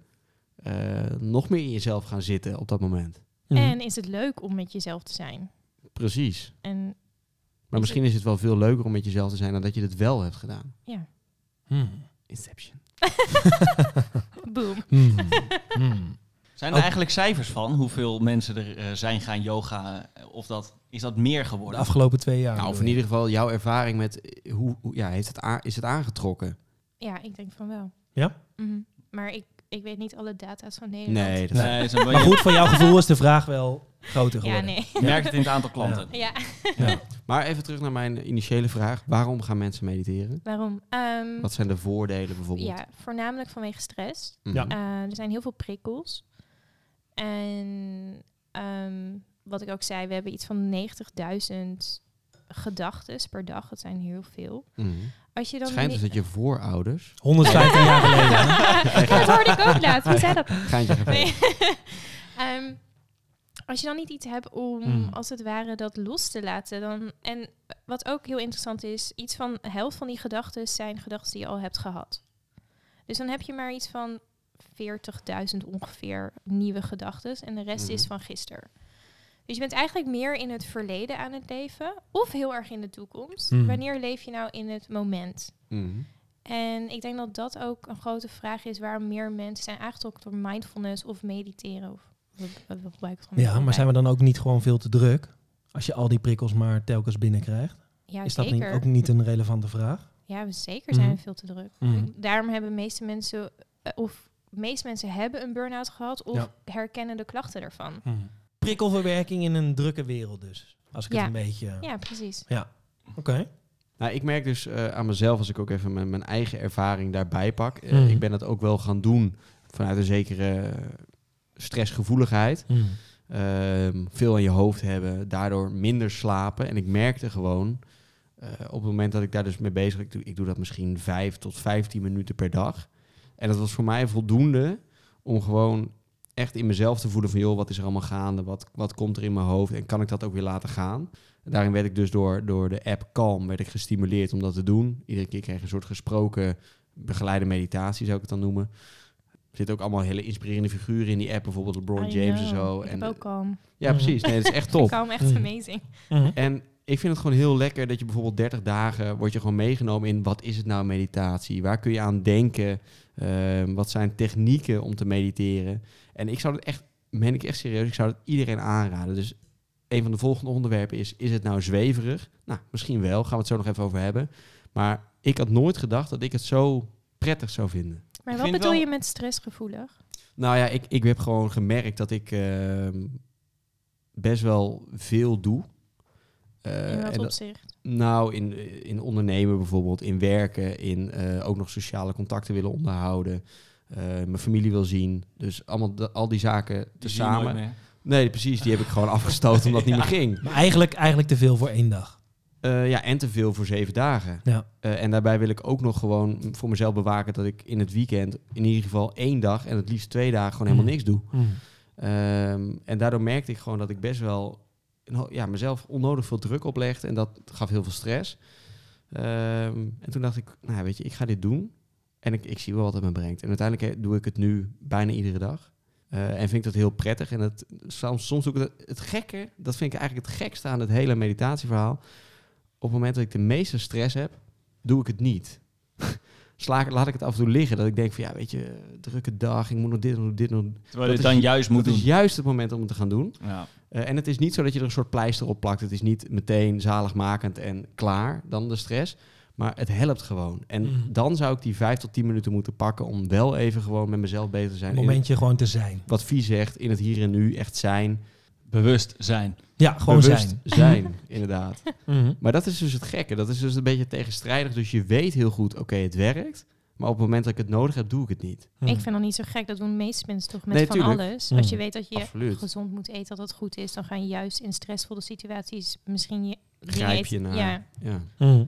S3: eh, nog meer in jezelf gaan zitten op dat moment? Mhm.
S4: En is het leuk om met jezelf te zijn?
S3: Precies.
S4: En
S3: Maar misschien is het wel veel leuker om met jezelf te zijn dan dat je het wel hebt gedaan.
S4: ja, (laughs)
S3: Inception.
S4: boom.
S2: Hmm.
S5: Zijn er
S2: Ook-
S5: eigenlijk cijfers van hoeveel mensen er eh, zijn gaan yoga? eh, Of dat, is dat meer
S2: De
S5: geworden?
S2: afgelopen twee jaar.
S3: Nou, of in
S2: bedoel
S3: ieder geval jouw ervaring met eh, hoe, hoe ja, heeft het aan- is het aangetrokken?
S4: Ja, ik denk van wel.
S2: Ja?
S4: Mhm. Maar ik, ik weet niet alle data's van Nederland.
S3: Nee, dat
S5: nee, is een
S2: Maar
S5: beetje-
S2: goed, voor jouw gevoel is de vraag wel groter
S4: Ja,
S2: geworden.
S4: nee.
S5: Je merkt het in het aantal klanten.
S4: (laughs) Ja,
S3: Maar even terug naar mijn initiële vraag. Waarom gaan mensen mediteren?
S4: waarom? Ehm,
S3: Wat zijn de voordelen bijvoorbeeld?
S4: ja, voornamelijk vanwege stress.
S3: Mhm.
S2: Ja.
S4: Eh, er zijn heel veel prikkels. En ehm, wat ik ook zei, we hebben iets van 90.000 gedachten per dag. Dat zijn heel veel.
S3: Mhm.
S4: Als je
S3: Het
S4: dan
S3: schijnt
S4: ni-
S3: dus dat je voorouders...
S2: 115 jaar geleden.
S4: (laughs) dat hoorde ik ook laatst. Wie zei dat? (laughs)
S3: Geintje gevecht.
S4: Nee. Ehm, als je dan niet iets hebt om
S2: Mm.
S4: als het ware dat los te laten, dan. En wat ook heel interessant is, iets van de helft van die gedachten zijn gedachten die je al hebt gehad. Dus dan heb je maar iets van 40.000 ongeveer nieuwe gedachten en de rest is
S3: Mhm.
S4: van gisteren. Dus je bent eigenlijk meer in het verleden aan het leven of heel erg in de toekomst.
S2: Mm.
S4: Wanneer leef je nou in het moment?
S3: Mhm.
S4: En ik denk dat dat ook een grote vraag is waarom meer mensen zijn aangetrokken door mindfulness of mediteren. Of we, we- we gebruiken het
S2: Ja, maar zijn we dan ook niet gewoon veel te druk? Als je al die prikkels maar telkens binnenkrijgt.
S4: Ja,
S2: Is dat
S4: zeker.
S2: niet, ook niet een relevante vraag?
S4: Ja, we zeker zijn
S2: Mhm.
S4: we veel te druk.
S2: Mhm.
S4: Ik- Daarom hebben de meeste mensen, eh, of de meeste mensen hebben een burn-out gehad of herkennen de klachten ervan.
S2: Prikkelverwerking in een drukke wereld dus. Als ik
S4: Ja.
S2: het een beetje...
S4: Ja, precies.
S2: Oké.
S3: Nou, ik merk dus eh, aan mezelf, als ik ook even mijn, mijn eigen ervaring daarbij pak. eh,
S2: Mhm.
S3: Ik ben dat ook wel gaan doen vanuit een zekere eh, stressgevoeligheid.
S2: Mhm.
S3: Ehm, veel aan je hoofd hebben, daardoor minder slapen. En ik merkte gewoon, eh, op het moment dat ik daar dus mee bezig was, ik doe, ik doe dat misschien 5 tot 15 minuten per dag. En dat was voor mij voldoende om gewoon echt in mezelf te voelen van, joh, wat is er allemaal gaande? Wat, wat komt er in mijn hoofd? En kan ik dat ook weer laten gaan? Daarin werd ik dus door, door de app Calm werd ik gestimuleerd om dat te doen. Iedere keer kreeg ik een soort gesproken begeleide meditatie, zou ik het dan noemen. Er zitten ook allemaal hele inspirerende figuren in die app, bijvoorbeeld LeBron
S4: I
S3: James en
S4: know.
S3: zo.
S4: Ik
S3: en,
S4: heb ook kalm.
S3: ja,
S2: Mhm.
S3: precies. Nee, dat is echt
S4: (laughs) Ik
S3: top.
S4: kalm echt
S2: Mhm.
S4: amazing.
S3: En ik vind het gewoon heel lekker dat je bijvoorbeeld 30 dagen wordt je gewoon meegenomen in wat is het nou meditatie? Waar kun je aan denken? Ehm, wat zijn technieken om te mediteren? En ik zou het echt, meen ik echt serieus, ik zou het iedereen aanraden. Dus een van de volgende onderwerpen is, is het nou zweverig? Nou, misschien wel, gaan we het zo nog even over hebben. Maar ik had nooit gedacht dat ik het zo prettig zou vinden.
S4: Maar
S5: Ik
S4: wat
S5: vind
S4: bedoel
S5: wel-
S4: je met stressgevoelig?
S3: Nou ja, ik, ik heb gewoon gemerkt dat ik ehm, best wel veel doe. Eh,
S4: in
S3: en
S4: wat
S3: dat-
S4: opzicht?
S3: nou, in, in ondernemen bijvoorbeeld, in werken, in eh, ook nog sociale contacten willen onderhouden. eh, mijn familie wil zien. Dus allemaal da- al die zaken
S5: Die zie je nooit
S3: tezamen.
S5: meer. (laughs)
S3: Nee, precies, die heb ik gewoon afgestoten omdat het niet meer ging.
S2: Maar eigenlijk, eigenlijk te veel voor één dag.
S3: Eh, ja, en te veel voor zeven dagen.
S2: Ja.
S3: Eh, en daarbij wil ik ook nog gewoon voor mezelf bewaken dat ik in het weekend in ieder geval één dag en het liefst twee dagen gewoon
S5: Mhm.
S3: helemaal
S2: Mm.
S3: niks doe. Ehm, en daardoor merkte ik gewoon dat ik best wel een ho- ja, mezelf onnodig veel druk oplegde. En dat gaf heel veel stress. Ehm, en toen dacht ik, nou weet je, ik ga dit doen. En ik, ik zie wel wat het me brengt. En uiteindelijk eh, doe ik het nu bijna iedere dag. Eh, en vind ik dat heel prettig. En het, soms, soms doe ik het, het gekke, dat vind ik eigenlijk het gekste aan het hele meditatieverhaal. Op het moment dat ik de meeste stress heb, doe ik het niet. (laughs) Sla, ik- laat ik het af en toe liggen. Dat ik denk van, ja weet je, drukke dag, ik moet nog dit, nog dit, nog
S5: Terwijl
S3: Dat
S5: je het
S3: is
S5: dan
S3: ju-
S5: juist moet
S3: dat
S5: doen.
S3: is juist het moment om het te gaan doen.
S5: Ja.
S3: Eh, en het is niet zo dat je er een soort pleister op plakt. Het is niet meteen zaligmakend en klaar dan de stress. Maar het helpt gewoon. En
S2: Mhm.
S3: dan zou ik die vijf tot tien minuten moeten pakken om wel even gewoon met mezelf bezig te zijn.
S2: Een
S3: In
S2: momentje gewoon te zijn.
S3: het- wat Vie zegt, in het hier en nu echt zijn.
S5: Bewust zijn.
S2: Ja, gewoon
S3: bewust
S2: zijn.
S3: (laughs) zijn, inderdaad.
S2: Mhm.
S3: Maar dat is dus het gekke. Dat is dus een beetje tegenstrijdig. Dus je weet heel goed, oké, het werkt. Maar op het moment dat ik het nodig heb, doe ik het niet.
S2: Mhm.
S4: Ik vind dat niet zo gek. Dat doen de meeste mensen toch met
S3: Nee,
S4: van
S3: tuurlijk.
S4: alles.
S2: Mm.
S4: Als je weet dat je
S3: Absoluut.
S4: gezond moet eten, dat het goed is, dan ga je juist in stressvolle situaties misschien je dingen
S3: Grijp je
S4: eten-
S3: naar.
S4: Ja,
S3: Ja.
S2: Mhm.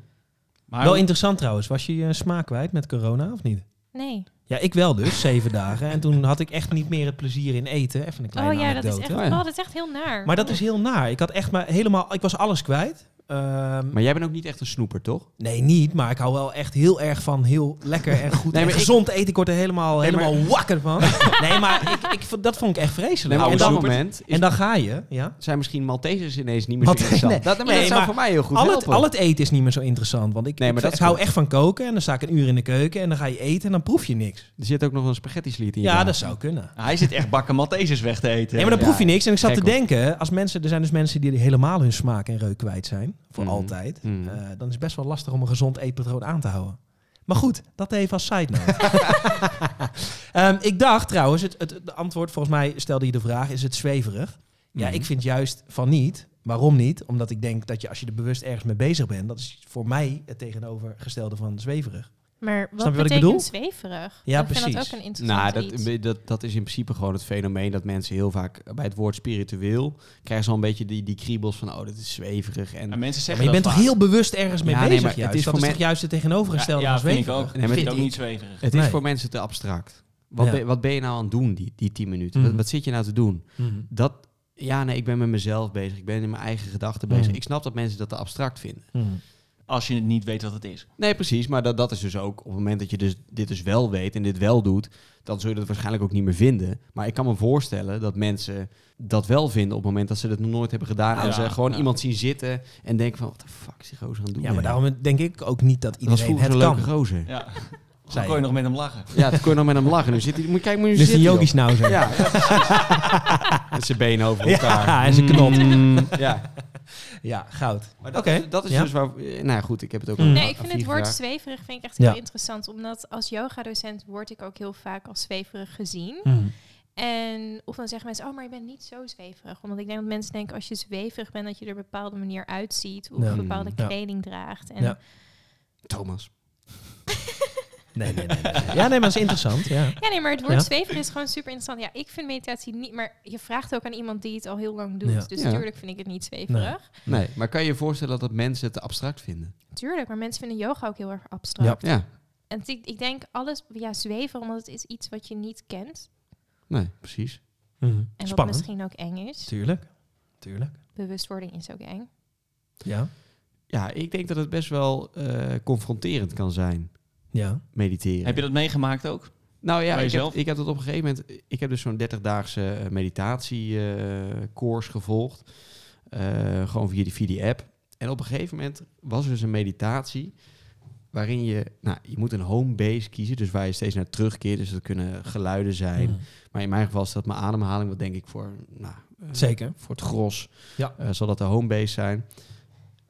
S5: Maar
S2: Wel interessant trouwens. Was je je smaak kwijt met corona of niet?
S4: nee.
S2: Ja, ik wel
S4: (laughs)
S2: dus, zeven dagen. En toen had ik echt niet meer het plezier in eten. Even een
S4: Oh
S2: kleine
S4: ja, dat is
S2: anekdote.
S4: echt,
S3: Oh ja.
S4: oh, dat is echt heel naar.
S2: Maar dat is heel naar. Ik had echt maar helemaal... Ik was alles kwijt. Ehm,
S3: Maar jij bent ook niet echt een snoeper, toch?
S2: nee, niet. Maar ik hou wel echt heel erg van heel lekker en goed
S3: Nee,
S2: en
S3: maar ik-
S2: gezond eten. Ik word er helemaal,
S3: Nee, maar-
S2: helemaal wakker
S3: (laughs)
S2: van. nee, maar ik, ik, vond- dat vond ik echt
S3: Nee,
S2: vreselijk.
S3: maar op
S2: en,
S3: dat
S2: dan,
S3: moment is
S2: en dan ga je, ja.
S3: zijn misschien Maltesers ineens niet meer
S2: Malte-
S3: zo interessant.
S2: nee.
S3: Dat, maar
S2: Nee,
S3: dat zou
S2: maar
S3: voor mij heel goed
S2: Al het,
S3: helpen.
S2: al het eten is niet meer zo interessant. Want ik,
S3: Nee,
S2: ik-
S3: maar dat
S2: ik
S3: is
S2: hou
S3: goed.
S2: echt van koken. En dan sta ik een uur in de keuken. En dan ga je eten. En dan proef je niks.
S3: Er zit ook nog een spaghetti sliet in je
S2: Ja,
S3: maag.
S2: dat zou kunnen.
S5: Hij zit echt bakken Maltesers weg te eten.
S2: Nee, maar dan
S3: Ja,
S2: proef je niks. En ik zat
S3: gek,
S2: te
S3: hoor.
S2: denken, als mensen, er zijn dus mensen die helemaal hun smaak en reuk kwijt zijn, voor
S3: Mhm.
S2: altijd.
S3: Mhm.
S2: Eh, dan is het best wel lastig om een gezond eetpatroon aan te houden. Maar goed, dat even als side note. Ehm, ik dacht trouwens, het, het, het antwoord volgens mij stelde je de vraag, is het zweverig? Ja,
S3: Mhm.
S2: ik vind juist van niet. Waarom niet? Omdat ik denk dat je als je er bewust ergens mee bezig bent, dat is voor mij het tegenovergestelde van zweverig.
S4: maar wat
S2: Snap je wat ik
S4: betekent
S2: bedoel?
S4: zweverig?
S2: Ja,
S4: ik vind dat
S2: precies.
S4: ook een
S3: Nou,
S4: interessant
S3: dat,
S4: iets.
S3: dat, dat is in principe gewoon het fenomeen dat mensen heel vaak bij het woord spiritueel krijgen ze al een beetje die, die kriebels van oh, dit is zweverig. En,
S5: En mensen
S2: Maar
S5: zeggen
S2: je bent
S5: dat
S2: toch heel bewust ergens mee
S3: Ja, nee,
S2: bezig
S3: maar het
S2: juist?
S3: is
S2: dat
S3: voor
S2: is
S3: mij-
S2: toch juist het
S5: vaak.
S2: tegenovergestelde
S5: ja,
S2: van
S5: ja, vind
S2: zweverig?
S5: ik ook.
S3: Nee, maar
S5: vind
S3: dit-
S5: ik ook niet zweverig.
S3: het is
S2: Nee.
S3: voor mensen te abstract. Wat,
S2: Ja.
S3: ben, wat ben je nou aan het doen die, die 10 minuten? Wat,
S2: Mhm.
S3: wat zit je nou te doen?
S2: Mhm.
S3: Dat, ja, nee, ik ben met mezelf bezig. Ik ben in mijn eigen gedachten bezig.
S2: Mhm.
S3: Ik snap dat mensen dat te abstract vinden.
S2: Mhm.
S5: Als je het niet weet wat het is.
S3: Nee, precies. Maar dat, dat is dus ook op het moment dat je dus, dit dus wel weet en dit wel doet, dan zul je dat waarschijnlijk ook niet meer vinden. Maar ik kan me voorstellen dat mensen dat wel vinden op het moment dat ze dat nog nooit hebben gedaan. en
S5: Ja,
S3: ze gewoon
S5: ja.
S3: iemand zien zitten en denken van, wat de fuck is die gozer aan het doen?
S2: Ja, maar
S3: Ja.
S2: daarom denk ik ook niet dat
S3: dat was
S2: iedereen
S3: vroeger
S2: het
S3: een leuke
S2: kan.
S3: gozer.
S5: Ja. Dan
S2: Zei
S5: kon je
S2: je.
S5: nog met hem lachen.
S3: Ja, toen kon je nog met hem lachen. Nu zit hij, moet kijk, moet je
S2: Ligt
S3: zitten.
S2: een yogis nou zo. (laughs)
S3: joh. Ja, ja, precies. Met zijn benen over elkaar.
S2: Ja, en zijn knop.
S3: Mm, ja.
S2: Ja, goud.
S3: Maar dat,
S2: Oké.
S3: is- dat is
S2: Ja.
S3: dus waar... eh, Nou ja, goed, ik heb het ook
S2: Mm.
S3: al
S4: Nee,
S3: aan-
S4: ik
S3: aan
S4: vind het
S3: Vier
S4: woord
S3: gevraagd.
S4: zweverig vind ik echt
S2: Ja.
S4: heel interessant. Omdat als yoga-docent word ik ook heel vaak als zweverig gezien. En of dan zeggen mensen, oh, maar je bent niet zo zweverig. Omdat ik denk dat mensen denken, als je zweverig bent, dat je er op een bepaalde manier uitziet. Of
S2: Ja.
S4: een bepaalde
S3: Hmm,
S2: Ja.
S4: kleding draagt. En
S2: Ja.
S4: ja.
S3: Thomas.
S2: Nee, nee, nee, nee. Ja, nee, maar dat is interessant. Ja.
S4: nee, maar het woord
S2: Ja.
S4: zweverig is gewoon super interessant. Ja, ik vind meditatie niet, maar je vraagt ook aan iemand die het al heel lang doet.
S2: Ja.
S4: Dus
S3: Ja.
S4: tuurlijk vind ik het niet zweverig.
S3: Nee, maar kan je je voorstellen dat, dat mensen het te abstract vinden?
S4: Tuurlijk, maar mensen vinden yoga ook heel erg abstract.
S3: Ja.
S4: En ik, ik denk alles, ja, zweven, omdat het is iets wat je niet kent.
S3: Nee, precies.
S4: En wat
S2: Mhm. Spannend.
S4: misschien ook eng is.
S2: Tuurlijk. Tuurlijk.
S4: Bewustwording is ook eng.
S2: Ja.
S3: Ja, ik denk dat het best wel eh, confronterend kan zijn,
S2: Ja.
S3: mediteren.
S5: Heb je dat meegemaakt ook?
S3: nou ja,
S5: bij
S3: ik heb,
S5: jezelf?
S3: ik heb dat op een gegeven moment... Ik heb dus zo'n eh, 30-daagse meditatiekoers eh, gevolgd. Eh, gewoon via die, via die app. En op een gegeven moment was er dus een meditatie... waarin je... Nou, je moet een home base kiezen, dus waar je steeds naar terugkeert. Dus dat kunnen geluiden zijn.
S5: Mm.
S2: Mhm.
S3: Maar in mijn geval is dat mijn ademhaling, wat denk ik voor... Nou, eh,
S2: Zeker.
S3: voor het gros.
S2: Ja.
S3: Eh, zal dat de homebase zijn.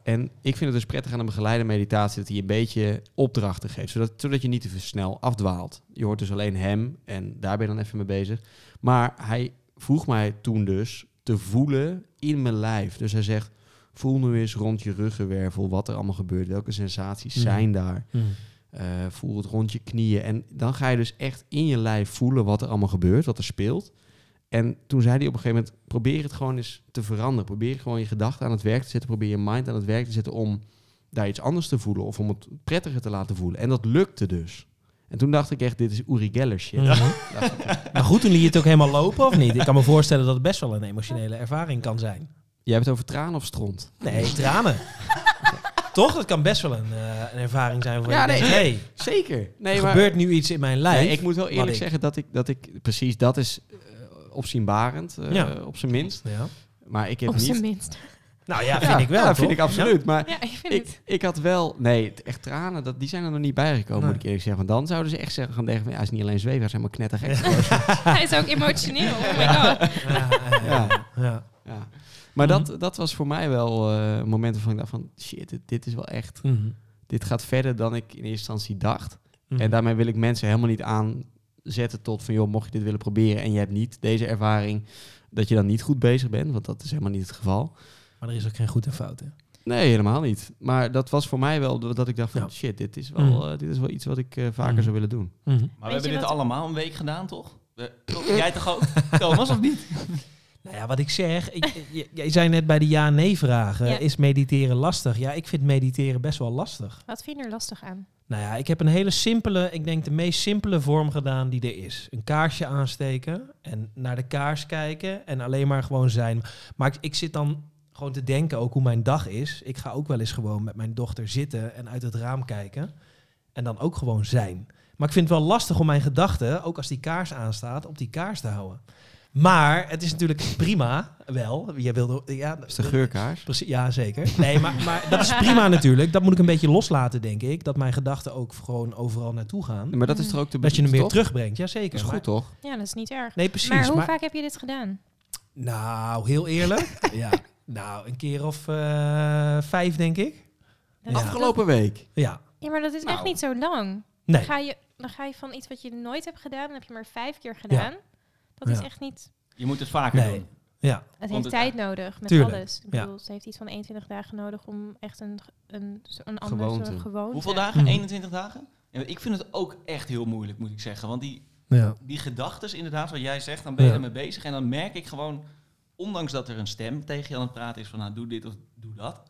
S3: En ik vind het dus prettig aan een begeleide meditatie dat hij een beetje opdrachten geeft. Zodat, zodat je niet te snel afdwaalt. Je hoort dus alleen hem en daar ben je dan even mee bezig. Maar hij vroeg mij toen dus te voelen in mijn lijf. Dus hij zegt, voel nu eens rond je ruggenwervel wat er allemaal gebeurt. Welke sensaties
S2: Mhm.
S3: zijn daar? Eh, voel het rond je knieën. En dan ga je dus echt in je lijf voelen wat er allemaal gebeurt, wat er speelt. En toen zei hij op een gegeven moment, probeer het gewoon eens te veranderen. Probeer gewoon je gedachten aan het werk te zetten. Probeer je mind aan het werk te zetten om daar iets anders te voelen of om het prettiger te laten voelen. En dat lukte dus. En toen dacht ik echt, dit is Uri Geller shit. Dacht ik,
S2: Mhm. Maar goed, toen liet je het ook helemaal lopen, of niet? Ik kan me voorstellen dat het best wel een emotionele ervaring kan zijn.
S3: Jij hebt het over tranen of stront?
S2: Nee, tranen. Toch? Dat kan best wel een, eh, een ervaring zijn voor
S3: Ja,
S2: je.
S3: nee.
S2: denkt, hey,
S3: Zeker. Nee,
S2: er gebeurt nu iets in mijn lijf.
S3: Nee, ik moet wel eerlijk
S2: ik-
S3: zeggen dat ik, dat ik precies dat is eh, opzienbarend, eh,
S2: Ja.
S3: op zijn minst.
S2: Ja.
S3: Maar ik heb
S4: Op zijn
S3: niet.
S4: minst.
S2: Nou ja, vind ik wel.
S3: Ja,
S2: toch?
S3: vind ik absoluut. Maar
S4: Ja, ik vind het.
S3: ik, ik had wel, nee, het- echt tranen, dat, die zijn er nog niet bijgekomen,
S2: Nee.
S3: moet ik eerlijk zeggen. Want dan zouden ze echt zeggen, gaan denken, van, ja, hij is niet alleen zweven, hij is helemaal knettergek.
S4: Hij is ook emotioneel. Oh my god.
S2: Ja, ja, Mhm. ja.
S3: (laughs) Ja.
S2: Ja.
S3: Ja. Maar dat, dat was voor mij wel eh een moment waarvan ik dacht van, shit, dit, dit is wel echt,
S2: Mhm.
S3: dit gaat verder dan ik in eerste instantie dacht.
S2: Mhm.
S3: En daarmee wil ik mensen helemaal niet aanzetten tot van, joh, mocht je dit willen proberen en je hebt niet deze ervaring, dat je dan niet goed bezig bent, want dat is helemaal niet het geval.
S2: Maar er is ook geen goed en fout. Hè?
S3: Nee, helemaal niet. Maar dat was voor mij wel dat ik dacht van
S2: Ja.
S3: shit, dit is wel,
S2: Mm.
S3: eh, dit is wel iets wat ik eh, vaker
S2: Mm.
S3: zou willen doen.
S5: Maar we
S4: Weet je
S5: hebben dit
S4: wat-
S5: allemaal een week gedaan, toch? Eh, toch? Jij toch (laughs) ook? Thomas, of niet?
S2: Nou ja, wat ik zeg, ik, (laughs) je, jij zei net bij de ja-nee-vragen,
S4: Ja.
S2: is mediteren lastig? Ja, ik vind mediteren best wel lastig.
S4: Wat vind je er lastig aan?
S2: Nou ja, ik heb een hele simpele, ik denk de meest simpele vorm gedaan die er is. Een kaarsje aansteken en naar de kaars kijken en alleen maar gewoon zijn. Maar ik, ik zit dan gewoon te denken ook hoe mijn dag is. Ik ga ook wel eens gewoon met mijn dochter zitten en uit het raam kijken. En dan ook gewoon zijn. Maar ik vind het wel lastig om mijn gedachten, ook als die kaars aanstaat, op die kaars te houden. Maar het is natuurlijk prima, wel. Je wilde, ja,
S3: Dat is de geurkaars.
S2: Precies, ja, zeker. Nee, maar, maar dat is prima natuurlijk. Dat moet ik een beetje loslaten, denk ik. Dat mijn gedachten ook gewoon overal naartoe gaan.
S3: Maar dat is toch ook de
S2: Dat je hem weer
S3: toch?
S2: terugbrengt. Ja,
S3: Dat
S2: zeker.
S3: is goed
S2: Maar-
S3: toch?
S4: Ja, dat is niet erg.
S2: Nee, precies.
S4: maar hoe
S2: maar-
S4: vaak heb je dit gedaan?
S2: Nou, heel
S4: (laughs)
S2: eerlijk. ja. Nou, een keer of eh, vijf, denk ik. Ja.
S3: Afgelopen week.
S2: Ja.
S4: Ja, maar dat is echt
S3: Nou.
S4: niet zo lang. Dan,
S2: Nee.
S4: ga je, dan ga je van iets wat je nooit hebt gedaan, dan heb je maar vijf keer gedaan. Dat is
S2: Ja.
S4: echt niet...
S5: Je moet het vaker
S2: Nee.
S5: doen.
S2: Ja.
S4: Het
S5: Want
S4: heeft
S5: het-
S4: tijd nodig met
S2: Tuurlijk,
S4: alles. Ik
S2: ja.
S4: bedoel, ze heeft iets van 21 dagen nodig om echt een, een, een andere
S3: Gewoonte.
S4: gewoonte.
S5: Hoeveel dagen?
S2: Mhm.
S5: 21 dagen? Ja, ik vind het ook echt heel moeilijk, moet ik zeggen. Want die,
S2: ja.
S5: die gedachten, inderdaad, wat jij zegt, dan ben je
S2: Ja.
S5: ermee bezig. En dan merk ik gewoon, ondanks dat er een stem tegen je aan het praten is van, nou, doe dit of doe dat.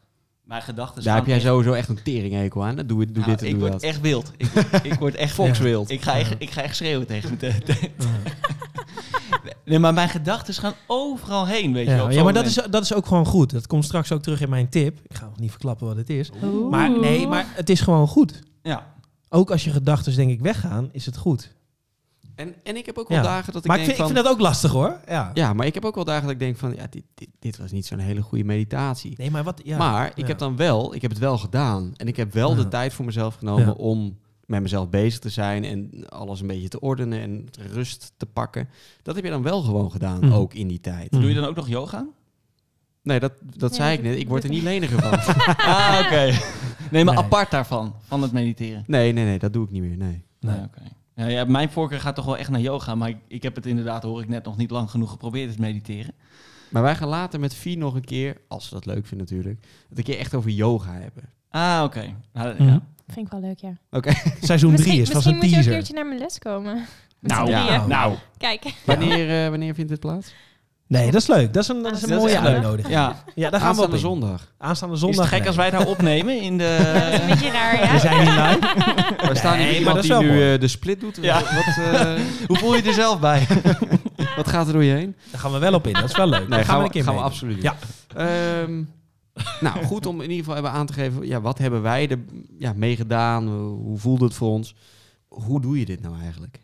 S5: Mijn gedachten
S3: Daar heb
S5: gaan
S3: jij
S5: echt-
S3: sowieso echt een teringhekel aan. hè? Doe, doe
S5: Nou,
S3: dit en
S5: ik
S3: doe
S5: word
S3: dat.
S5: echt wild. Ik word, ik word
S2: (laughs)
S5: echt
S2: Fox
S5: Ja.
S3: wild.
S5: Ik ga, echt, ik ga echt schreeuwen tegen mijn te- te-
S3: (laughs)
S5: Nee, maar mijn gedachten gaan overal heen, weet je wel.
S2: Ja,
S5: op
S2: ja,
S5: zo'n
S2: maar dat is,
S5: moment.
S2: dat is ook gewoon goed. Dat komt straks ook terug in mijn tip. Ik ga nog niet verklappen wat het is. Maar nee, maar het is gewoon goed.
S5: Ja,
S2: Ook als je gedachten, denk ik, weggaan, is het goed.
S3: En, en ik heb ook wel
S2: Ja.
S3: dagen dat ik
S2: maar ik
S3: denk
S2: vind,
S3: van...
S2: ik vind dat ook lastig, hoor. Ja.
S3: Ja, maar ik heb ook wel dagen dat ik denk van... Ja, dit, dit, dit was niet zo'n hele goede meditatie.
S2: Nee, maar wat... Ja.
S3: maar ik
S2: ja.
S3: heb dan wel... Ik heb het wel gedaan. En ik heb wel
S2: Ja.
S3: de tijd voor mezelf genomen
S2: Ja.
S3: om met mezelf bezig te zijn... en alles een beetje te ordenen en rust te pakken. Dat heb je dan wel gewoon gedaan,
S2: Mhm.
S3: ook in die tijd.
S2: Mhm.
S5: doe je dan ook nog yoga?
S3: Nee, dat, dat
S4: Ja,
S3: zei ik
S4: dat-
S3: net. Ik word er
S4: dat-
S3: niet leniger van.
S5: (laughs) Ah, oké. Nee, maar
S2: Nee.
S5: apart daarvan, van het mediteren.
S3: Nee, nee, nee, dat doe ik niet meer. Nee.
S2: Nee.
S5: Nee. oké. Ja, ja, mijn voorkeur gaat toch wel echt naar yoga, maar ik, ik heb het inderdaad, hoor ik net, nog niet lang genoeg geprobeerd, het mediteren.
S3: Maar wij gaan later met Vie nog een keer, als ze dat leuk vindt natuurlijk, het een keer echt over yoga hebben.
S5: Ah, oké. Nou,
S2: Mhm.
S5: ja.
S4: Vind ik wel leuk, ja.
S2: Seizoen 3 is, was
S4: misschien
S2: een
S4: moet je ook een
S2: teaser.
S4: keertje naar mijn les komen. (laughs)
S5: Nou,
S3: ja.
S4: ja.
S5: nou.
S4: Kijk.
S3: Wanneer, eh, wanneer vindt dit plaats?
S2: Nee, dat is leuk. Dat is een, dat is een
S5: Dat is
S2: mooie
S5: echt leuk.
S2: uitnodiging.
S5: Ja.
S2: Ja, daar gaan we op
S3: Aanstaande
S2: in.
S3: zondag.
S2: Aanstaande
S5: Is
S2: zondag.
S5: het gek
S2: nee.
S5: als wij daar opnemen in de...
S2: (laughs)
S4: Dat is een beetje raar, ja.
S2: We zijn niet
S3: (laughs)
S2: live.
S3: (laughs) we staan hier
S2: maar
S3: iemand
S2: dat is
S3: die
S2: wel
S3: nu
S2: mooi.
S3: eh, de split doet.
S5: Ja.
S3: Wat, eh,
S5: Hoe voel je er zelf bij?
S3: (laughs) wat gaat er door je heen?
S2: Daar gaan we wel op in. Dat is wel leuk. Daar
S3: gaan we,
S2: een keer
S3: gaan we
S2: mee.
S3: absoluut
S2: Ja.
S3: Ja. nou, goed om in ieder geval even aan te geven, ja, wat hebben wij er ja, mee gedaan? Hoe voelde het voor ons? Hoe doe je dit nou eigenlijk?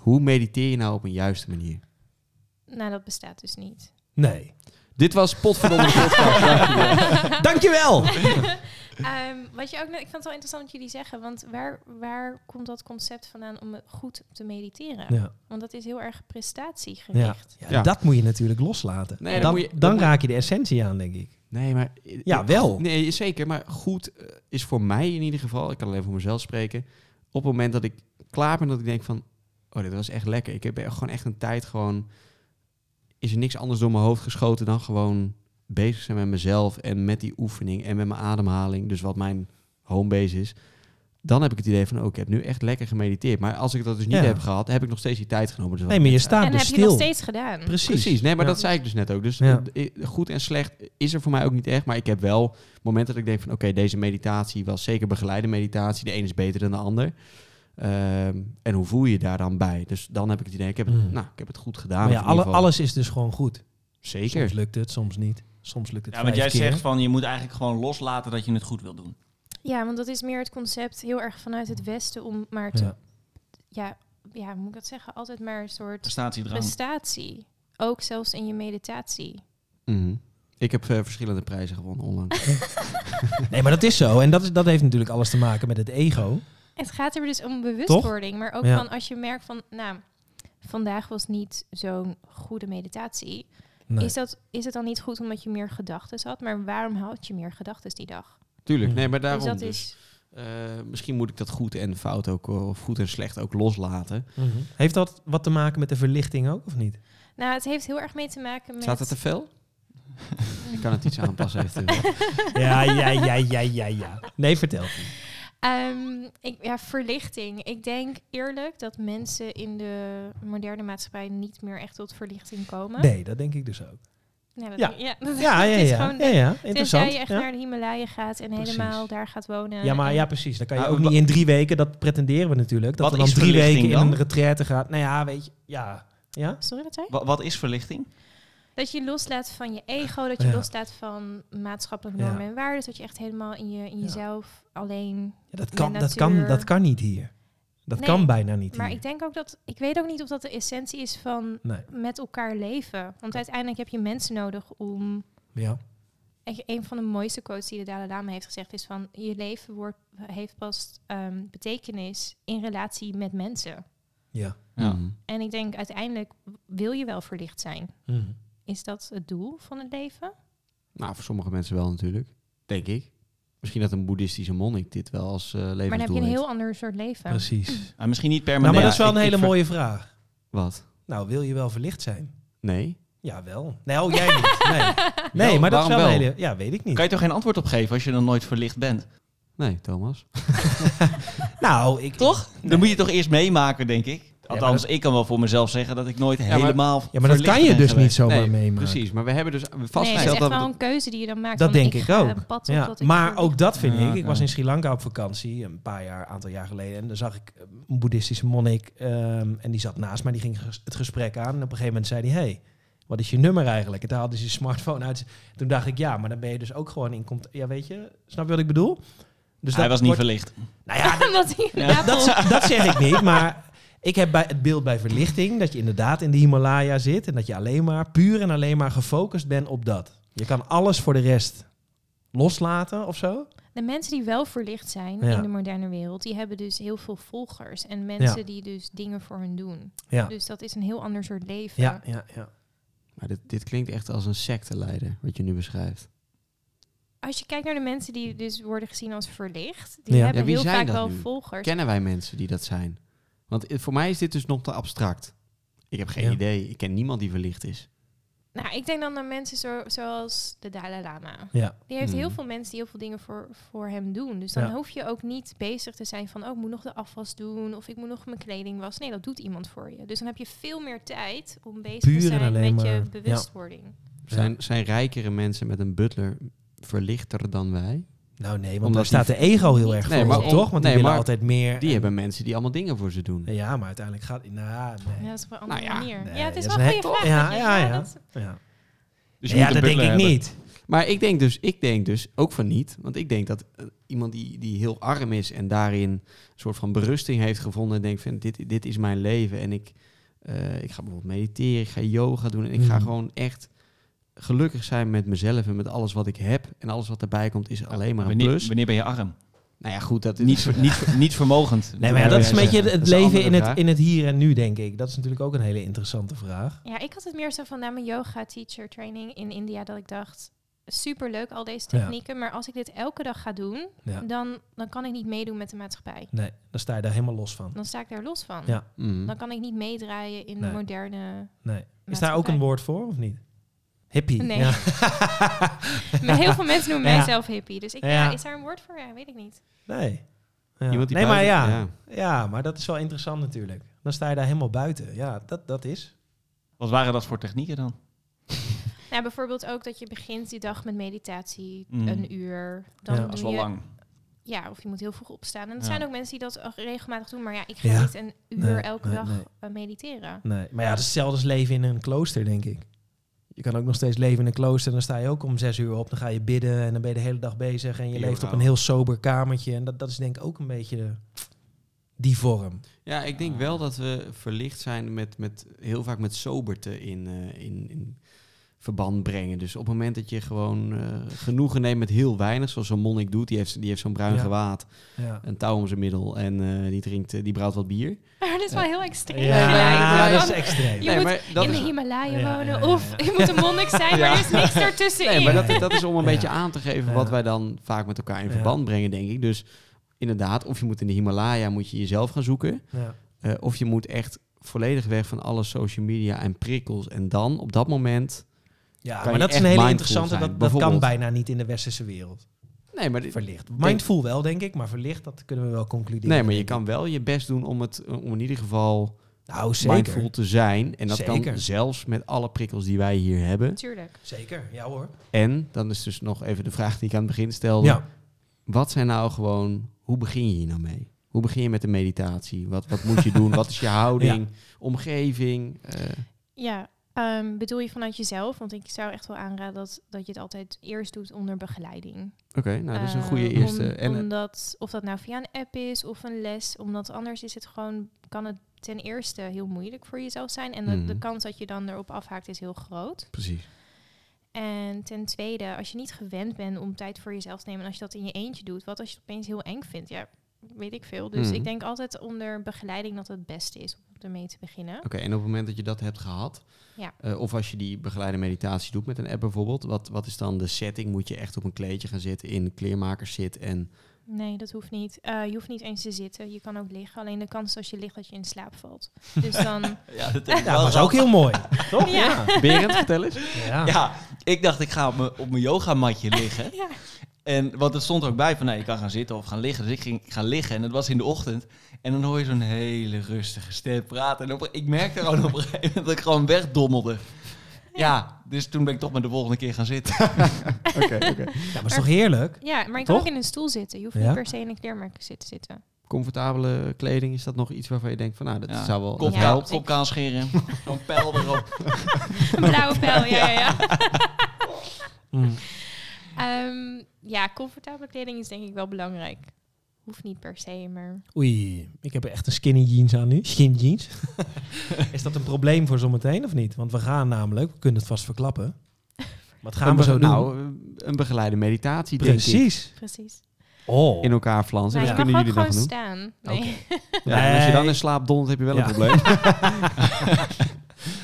S3: Hoe mediteer je nou op een juiste manier?
S4: Nou, dat bestaat dus niet.
S5: (laughs)
S2: Nee.
S3: Dit was Potverdomme de Podcast. Dankjewel.
S2: Dankjewel!
S3: (laughs)
S4: Ehm, wat je ook, net- ik vind het wel interessant wat jullie zeggen, want waar, waar komt dat concept vandaan om goed te mediteren?
S2: Ja.
S4: Want dat is heel erg
S2: Ja.
S4: prestatiegericht.
S2: Ja,
S3: Ja.
S2: Dat moet je natuurlijk loslaten.
S3: Nee, dat
S2: dan
S3: moet je- dat
S2: dan
S3: moet-
S2: raak je de essentie aan, denk ik.
S3: Nee, maar...
S2: Ja, wel.
S3: Nee, zeker. Maar goed eh, is voor mij in ieder geval, ik kan alleen voor mezelf spreken, op het moment dat ik klaar ben, dat ik denk van, oh, dit was echt lekker. Ik heb echt gewoon echt een tijd gewoon, is er niks anders door mijn hoofd geschoten dan gewoon bezig zijn met mezelf en met die oefening en met mijn ademhaling. Dus wat mijn homebase is. dan heb ik het idee van, oh, ik heb nu echt lekker gemediteerd. Maar als ik dat dus niet
S2: Ja.
S3: heb gehad, heb ik nog steeds die tijd genomen. Dus wat
S2: Nee, maar je
S3: ik net
S2: staat
S4: en
S2: dus
S4: heb
S2: stil.
S4: je nog steeds gedaan.
S2: Precies.
S3: Precies, nee, maar
S2: Ja.
S3: dat zei ik dus net ook. Dus
S2: Ja.
S3: eh, goed en slecht is er voor mij ook niet echt. Maar ik heb wel momenten dat ik denk van... oké, deze meditatie was zeker begeleide meditatie. De een is beter dan de ander. Ehm, en hoe voel je je daar dan bij? Dus dan heb ik het idee, ik heb het,
S2: Mm.
S3: nou, ik heb het goed gedaan.
S2: Maar ja,
S3: Of in ieder
S2: alle,
S3: geval-
S2: alles is dus gewoon goed. Soms
S3: Zeker.
S2: lukt het, soms niet. Soms lukt het
S5: Ja, want jij
S2: vijf keer.
S5: zegt van je moet eigenlijk gewoon loslaten dat je het goed wil doen.
S4: Ja, want dat is meer het concept heel erg vanuit het Westen om maar te...
S2: Ja.
S4: Ja, ja, hoe moet ik dat zeggen? Altijd maar een soort
S5: Prestatiedrang.
S4: prestatie. Ook zelfs in je meditatie.
S3: Mhm. Ik heb eh, verschillende prijzen gewonnen
S2: (laughs)
S3: onlangs.
S2: Nee, maar dat is zo. En dat, is, dat heeft natuurlijk alles te maken met het ego.
S4: Het gaat er dus om bewustwording, maar ook
S2: Ja.
S4: van als je merkt van, nou, vandaag was niet zo'n goede meditatie.
S2: Nee.
S4: Is, dat, is het dan niet goed omdat je meer gedachten had? Maar waarom had je meer gedachten die dag?
S3: Tuurlijk,
S2: Ja.
S3: nee, maar daarom
S4: dus dat
S3: dus.
S4: is.
S3: Eh, misschien moet ik dat goed en fout ook... eh, of goed en slecht ook loslaten.
S2: Mhm. Heeft dat wat te maken met de verlichting ook, of niet?
S4: Nou, het heeft heel erg mee te maken met.
S3: Staat dat te fel? ik kan het iets aanpassen eventueel.
S2: Ja, ja, ja, ja, ja, ja. Nee, vertel.
S4: Ehm, ik, ja, verlichting. Ik denk eerlijk dat mensen in de moderne maatschappij niet meer echt tot verlichting komen.
S2: Nee, dat denk ik dus ook.
S4: Nou, dat
S2: Ja.
S4: denk- ja, (laughs) dat,
S2: Ja, ja,
S4: het is
S2: ja.
S4: gewoon.
S2: ja, ja.
S4: Tenzij
S2: Interessant.
S4: je echt
S2: Ja.
S4: naar eh, de Himalaya gaat en
S3: Precies.
S4: helemaal daar gaat wonen.
S2: Ja, maar
S4: en-
S2: ja, precies. Dan kan je
S5: Maar
S2: ook
S5: wa-
S2: niet in drie weken, dat pretenderen we natuurlijk. Dat
S5: Wat
S2: er dan
S5: is
S2: drie
S5: verlichting
S2: weken in
S5: dan?
S2: een retraite gaat. Nou ja, weet je, ja. Ja?
S4: Sorry, wat zei je?
S5: Wa- wat is verlichting?
S4: Dat je loslaat van je ego, dat je
S2: Ja.
S4: loslaat van maatschappelijke normen en waarden. Dat je echt helemaal in, je, in
S2: Ja.
S4: jezelf alleen.
S2: Ja, dat,
S4: De
S2: kan, dat,
S4: natuur.
S2: kan, dat kan niet hier. Dat
S4: Nee,
S2: kan bijna niet
S4: Maar
S2: hier.
S4: ik denk ook dat. Ik weet ook niet of dat de essentie is van
S2: Nee,
S4: met elkaar leven. Want uiteindelijk heb je mensen nodig om.
S2: ja.
S4: Echt, Een van de mooiste quotes die de Dalai Lama heeft gezegd is van... je leven wordt, heeft pas ehm, betekenis in relatie met mensen.
S2: (laughs) ja.
S5: Ja.
S3: Mhm.
S4: En ik denk uiteindelijk wil je wel verlicht zijn.
S2: Mhm.
S4: Is dat het doel van het leven?
S3: Nou, voor sommige mensen wel natuurlijk, denk ik. Misschien dat een boeddhistische monnik dit wel als eh levensdoel
S4: maar dan heb je een
S3: heeft.
S4: heel ander soort leven.
S2: Precies.
S5: Ah, misschien niet
S2: nou, maar
S5: permanent.
S2: dat is wel
S3: ik-
S2: een
S3: ik
S2: hele
S3: ver-
S2: mooie vraag.
S3: Wat?
S2: Nou, wil je wel verlicht zijn?
S3: Nee?
S2: Jawel. Nee, oh, jij niet. Nee, (laughs)
S4: (laughs)
S2: nee
S3: Wel,
S2: maar dat is
S3: waarom
S2: wel, een
S3: wel?
S2: hele... Ja, weet ik niet.
S5: Kan je toch geen antwoord op geven als je dan nooit verlicht bent?
S3: Nee, Thomas.
S2: Nou, ik...
S5: Toch? Dan moet je toch eerst meemaken, denk ik. Althans, ik kan wel voor mezelf zeggen dat ik nooit
S3: maar-
S5: helemaal.
S2: Ja, maar dat
S5: verlicht
S2: kan je
S5: ben
S2: dus
S5: geweest.
S2: niet zomaar
S3: nee,
S2: meemaken.
S3: precies. Maar we hebben dus
S4: nee, het is
S3: vastgesteld
S4: echt
S3: dat...
S4: wel
S3: we-
S4: een keuze die je dan maakt.
S2: Dat
S4: van,
S2: denk
S4: ik
S2: ik
S4: ga
S2: ook.
S4: een pad op
S2: Ja,
S4: dat ik
S2: maar
S4: (laughs) verlicht
S2: ook dat vind
S5: Ja,
S2: ik. Ik was
S5: oké.
S2: in Sri Lanka op vakantie, een paar jaar, aantal jaar geleden. En daar zag ik eh, een boeddhistische monnik. ehm, en die zat naast mij, die ging ges- het gesprek aan. En op een gegeven moment zei hij, hey, wat is je nummer eigenlijk? En toen haalde hij zijn smartphone uit. Toen dacht ik, ja, maar dan ben je dus ook gewoon in contact. Ja, weet je, snap je wat ik bedoel? Dus
S5: Hij was niet
S2: wordt-
S5: verlicht.
S2: Nou ja,
S4: (laughs) Omdat hij
S5: Ja.
S4: inderdaad
S2: dat,
S4: al-
S2: z- dat zeg ik niet, maar ik heb bij het beeld bij verlichting dat je inderdaad in de Himalaya zit en dat je alleen maar puur en alleen maar gefocust bent op dat. Je kan alles voor de rest loslaten of zo.
S4: De mensen die wel verlicht zijn
S2: Ja.
S4: in de moderne wereld... die hebben dus heel veel volgers. En mensen die dus dingen voor hun doen.
S2: Ja.
S4: Dus dat is een heel ander soort leven.
S2: Ja, ja, ja.
S3: Maar dit, dit klinkt echt als een secteleider, wat je nu beschrijft.
S4: als je kijkt naar de mensen die dus worden gezien als verlicht, die
S2: Ja.
S4: hebben
S3: Ja, wie
S4: heel
S3: zijn
S4: vaak
S3: dat
S4: wel
S3: nu?
S4: volgers.
S3: Kennen wij mensen die dat zijn? Want eh, voor mij is dit dus nog te abstract. Ik heb geen
S2: Ja.
S3: idee. Ik ken niemand die verlicht is.
S4: nou, ik denk dan aan mensen zo, zoals de Dalai Lama.
S2: Ja.
S4: Die heeft
S3: Hmm.
S4: heel veel mensen die heel veel dingen voor, voor hem doen. Dus dan
S2: Ja.
S4: hoef je ook niet bezig te zijn van, oh, ik moet nog de afwas doen of ik moet nog mijn kleding wassen. Nee, dat doet iemand voor je. Dus dan heb je veel meer tijd om bezig
S2: Puur
S4: te
S2: en
S4: zijn
S2: alleen
S4: met je
S2: maar-
S4: bewustwording.
S3: Zijn, zijn rijkere mensen met een butler verlichter dan wij?
S2: Nou nee, want
S3: Omdat
S2: daar staat
S3: die-
S2: de ego heel erg
S3: Nee,
S2: voor
S3: maar
S2: op,
S3: om-
S2: toch? Want die
S3: nee,
S2: willen
S3: maar
S2: altijd meer.
S3: Die
S2: en-
S3: hebben mensen die allemaal dingen voor ze doen.
S2: Ja, maar uiteindelijk gaat... Nou,
S4: Ja,
S2: nee.
S4: dat is op een andere
S3: Nou ja,
S4: manier.
S2: nee,
S4: ja, het is
S2: dat
S4: wel
S2: is
S4: een
S2: een
S4: goede vraag.
S2: he- Ja,
S4: weet je.
S2: ja, ja.
S4: dat-
S2: Ja,
S5: Dus je
S2: ja
S5: moet een
S2: dat denk
S5: butler
S2: ik
S5: hebben.
S2: niet.
S3: Maar ik denk dus, ik denk dus ook van niet. Want ik denk dat eh, iemand die, die heel arm is en daarin een soort van berusting heeft gevonden. En denkt van dit, dit is mijn leven. En ik, eh, ik ga bijvoorbeeld mediteren, ik ga yoga doen. En ik ga
S2: Mhm.
S3: gewoon echt gelukkig zijn met mezelf en met alles wat ik heb. En alles wat erbij komt is alleen maar een
S5: Wanneer,
S3: plus.
S5: wanneer ben je
S2: (laughs)
S5: arm?
S3: Nou ja, goed, dat is...
S5: Niet, ver- niet, ver- niet vermogend.
S2: Nee, maar ja,
S3: Ja,
S2: dat
S3: ja,
S2: is een beetje
S3: ja.
S2: het
S3: Dat is een
S2: leven
S3: andere
S2: in het,
S3: vraag.
S2: in het hier en nu, denk ik. Dat is natuurlijk ook een hele interessante vraag.
S4: Ja, ik had het meer zo van na mijn yoga teacher training in India dat ik dacht super leuk al deze technieken, maar als ik dit elke dag ga doen,
S2: Ja.
S4: dan, dan kan ik niet meedoen met de maatschappij.
S2: Nee, dan sta je daar helemaal los van.
S4: Dan sta ik daar los van.
S2: Ja.
S3: Mm.
S4: Dan kan ik niet meedraaien in
S2: Nee.
S4: de moderne.
S2: Nee. Is daar
S4: maatschappij.
S2: ook een woord voor, of niet? Hippie.
S4: Nee. (laughs)
S2: Ja.
S4: Maar heel veel mensen
S2: (laughs)
S4: noemen
S2: Ja.
S4: mijzelf hippie, dus ik, ja.
S2: Ja.
S4: is daar een woord voor? Ja, weet ik niet.
S2: Nee. Ja.
S3: Iemand die
S2: nee, maar
S3: buiten-
S2: ja, ja. maar dat is wel interessant natuurlijk. Dan sta je daar helemaal buiten. Ja, dat, dat is.
S5: Wat waren dat voor technieken dan?
S4: Nou, bijvoorbeeld ook dat je begint die dag met meditatie,
S5: Mm.
S4: een uur. Dan
S2: Ja,
S4: doe
S5: Dat is wel
S4: je,
S5: lang.
S4: Ja, of je moet heel vroeg opstaan. En er
S5: Ja.
S4: zijn ook mensen die dat ook regelmatig doen. Maar ja, ik ga
S2: Ja.
S4: niet een uur
S2: Nee,
S4: elke
S2: nee,
S4: dag
S2: nee.
S4: eh, mediteren. (laughs)
S2: Nee. Maar ja, dat is hetzelfde als leven in een klooster, denk ik. Je kan ook nog steeds leven in een klooster. Dan sta je ook om zes uur op. Dan ga je bidden en dan ben je de hele dag bezig. En je
S3: Heel
S2: leeft op
S3: gauw.
S2: een heel sober kamertje. En dat, dat is denk ik ook een beetje de- die vorm.
S3: Ja, ik denk
S2: Ah.
S3: wel dat we verlicht zijn met, met heel vaak met soberte in, eh, in, in verband brengen. Dus op het moment dat je gewoon eh, genoegen neemt met heel weinig, zoals zo'n monnik doet, die heeft, die heeft zo'n bruin
S2: Ja.
S3: gewaad,
S2: Ja.
S3: een touw om zijn middel en eh, die drinkt, eh, die brouwt wat bier.
S4: Maar dat is wel
S3: Ja.
S4: heel extreem.
S2: Ja,
S4: gelijk.
S3: ja,
S2: dat is
S4: Je
S2: extreem.
S4: Je moet
S3: maar
S4: kan in de
S3: is-
S4: Himalaya
S2: Ja,
S4: wonen
S2: ja, ja, ja.
S4: of je moet een monnik zijn, maar er is niks ertussenin.
S3: Nee, maar dat, dat is om een
S2: Ja.
S3: beetje aan te geven
S2: Ja.
S3: wat wij dan vaak met elkaar in
S2: Ja.
S3: verband brengen, denk ik. Dus inderdaad, of je moet in de Himalaya moet je jezelf gaan zoeken.
S2: Ja.
S3: Eh, of je moet echt volledig weg van alle social media en prikkels. En dan op dat moment.
S2: Ja,
S3: je
S2: maar dat is
S3: echt
S2: een hele
S3: mindful
S2: interessante.
S3: zijn,
S2: Dat, dat kan
S3: bijvoorbeeld.
S2: bijna niet in de westerse wereld.
S3: Nee, maar, dit-
S2: Verlicht. Mindful wel, denk ik. Maar verlicht, dat kunnen we wel concluderen.
S3: nee, maar je
S2: denk ik.
S3: kan wel je best doen om, het, eh, om in ieder geval
S2: Nou, zeker.
S3: mindful te zijn. En dat
S2: Zeker.
S3: kan zelfs met alle prikkels die wij hier hebben.
S4: Natuurlijk.
S2: Zeker, ja hoor.
S3: En dan is dus nog even de vraag die ik aan het begin stelde.
S2: Ja.
S3: Wat zijn nou gewoon, hoe begin je hier nou mee? Hoe begin je met de meditatie? Wat,
S2: (laughs)
S3: wat moet je doen? Wat is je houding, omgeving? eh,
S4: Ja, ehm, bedoel je vanuit jezelf? Want ik zou echt wel aanraden dat, dat je het altijd eerst doet onder begeleiding.
S3: Oké, nou dat is een
S4: Eh,
S3: goede eerste.
S4: om-
S3: en, eh,
S4: omdat, of dat nou via een app is of een les, omdat anders is het gewoon, kan het ten eerste heel moeilijk voor jezelf zijn. En de, de
S3: Mhm.
S4: kans dat je dan erop afhaakt is heel groot.
S3: precies.
S4: En ten tweede, als je niet gewend bent om tijd voor jezelf te nemen, en als je dat in je eentje doet, wat als je het opeens heel eng vindt? Ja, weet ik veel. Dus
S3: Mhm.
S4: ik denk altijd onder begeleiding dat het het beste is om ermee te beginnen.
S3: Oké, en op het moment dat je dat hebt gehad,
S4: Ja.
S3: eh, of als je die begeleide meditatie doet met een app bijvoorbeeld, wat, wat is dan de setting? Moet je echt op een kleedje gaan zitten, in kleermakerszit en...
S4: Nee, dat hoeft niet. Eh, je hoeft niet eens te zitten. Je kan ook liggen. Alleen de kans is als je ligt dat je in slaap valt. Dus dan.
S5: Ja, dat denk
S2: Nou,
S5: ik wel.
S2: dat is ook heel
S3: (laughs)
S2: mooi. Toch?
S4: Ja.
S3: Berend, vertel eens.
S2: Ja.
S5: Ja, ik dacht ik ga op mijn- op mijn yogamatje
S4: (laughs)
S5: liggen.
S4: Ja.
S5: En want er stond er ook bij van, nee, je kan gaan zitten of gaan liggen. Dus ik ging gaan liggen en het was in de ochtend. En dan hoor je zo'n hele rustige stem praten. En op, ik merkte gewoon op een gegeven moment dat ik gewoon wegdommelde. Ja, dus toen ben ik toch maar de volgende keer gaan zitten.
S3: Oké, oké.
S2: Ja, maar is toch heerlijk?
S4: Ja, maar je kan
S2: Toch?
S4: ook in een stoel zitten. Je hoeft
S2: Ja.
S4: niet per se in een kleermaker te zitten. (laughs)
S3: Comfortabele kleding, is dat nog iets waarvan je denkt van, nou, dat
S5: Ja,
S3: zou wel...
S5: Kop,
S3: dat
S4: Ja.
S5: kaal,
S3: helpt.
S5: kop kaal scheren, zo'n pijl erop.
S4: Een blauwe pijl, ja, ja, ja.
S3: (laughs)
S2: Mm.
S4: Ehm, ja, comfortabele kleding is denk ik wel belangrijk. Hoeft niet per se, maar...
S2: Oei, ik heb echt een skinny jeans aan nu. Skin jeans. is dat een probleem voor zometeen of niet? Want we gaan namelijk, we kunnen het vast verklappen. Wat gaan
S3: Een
S2: we
S3: be-
S2: zo doen?
S3: nou, eh, een begeleide meditatie, denk ik,
S2: Precies.
S4: Precies.
S2: Oh.
S3: in elkaar flansen.
S4: Maar
S3: dat
S4: je Nou mag
S3: kunnen
S4: ook
S3: jullie dan
S4: gewoon
S3: gaan doen.
S4: staan. Nee.
S3: Ja, en als je dan
S2: Nee.
S3: in slaap dondert, heb je wel
S2: Ja.
S3: een probleem.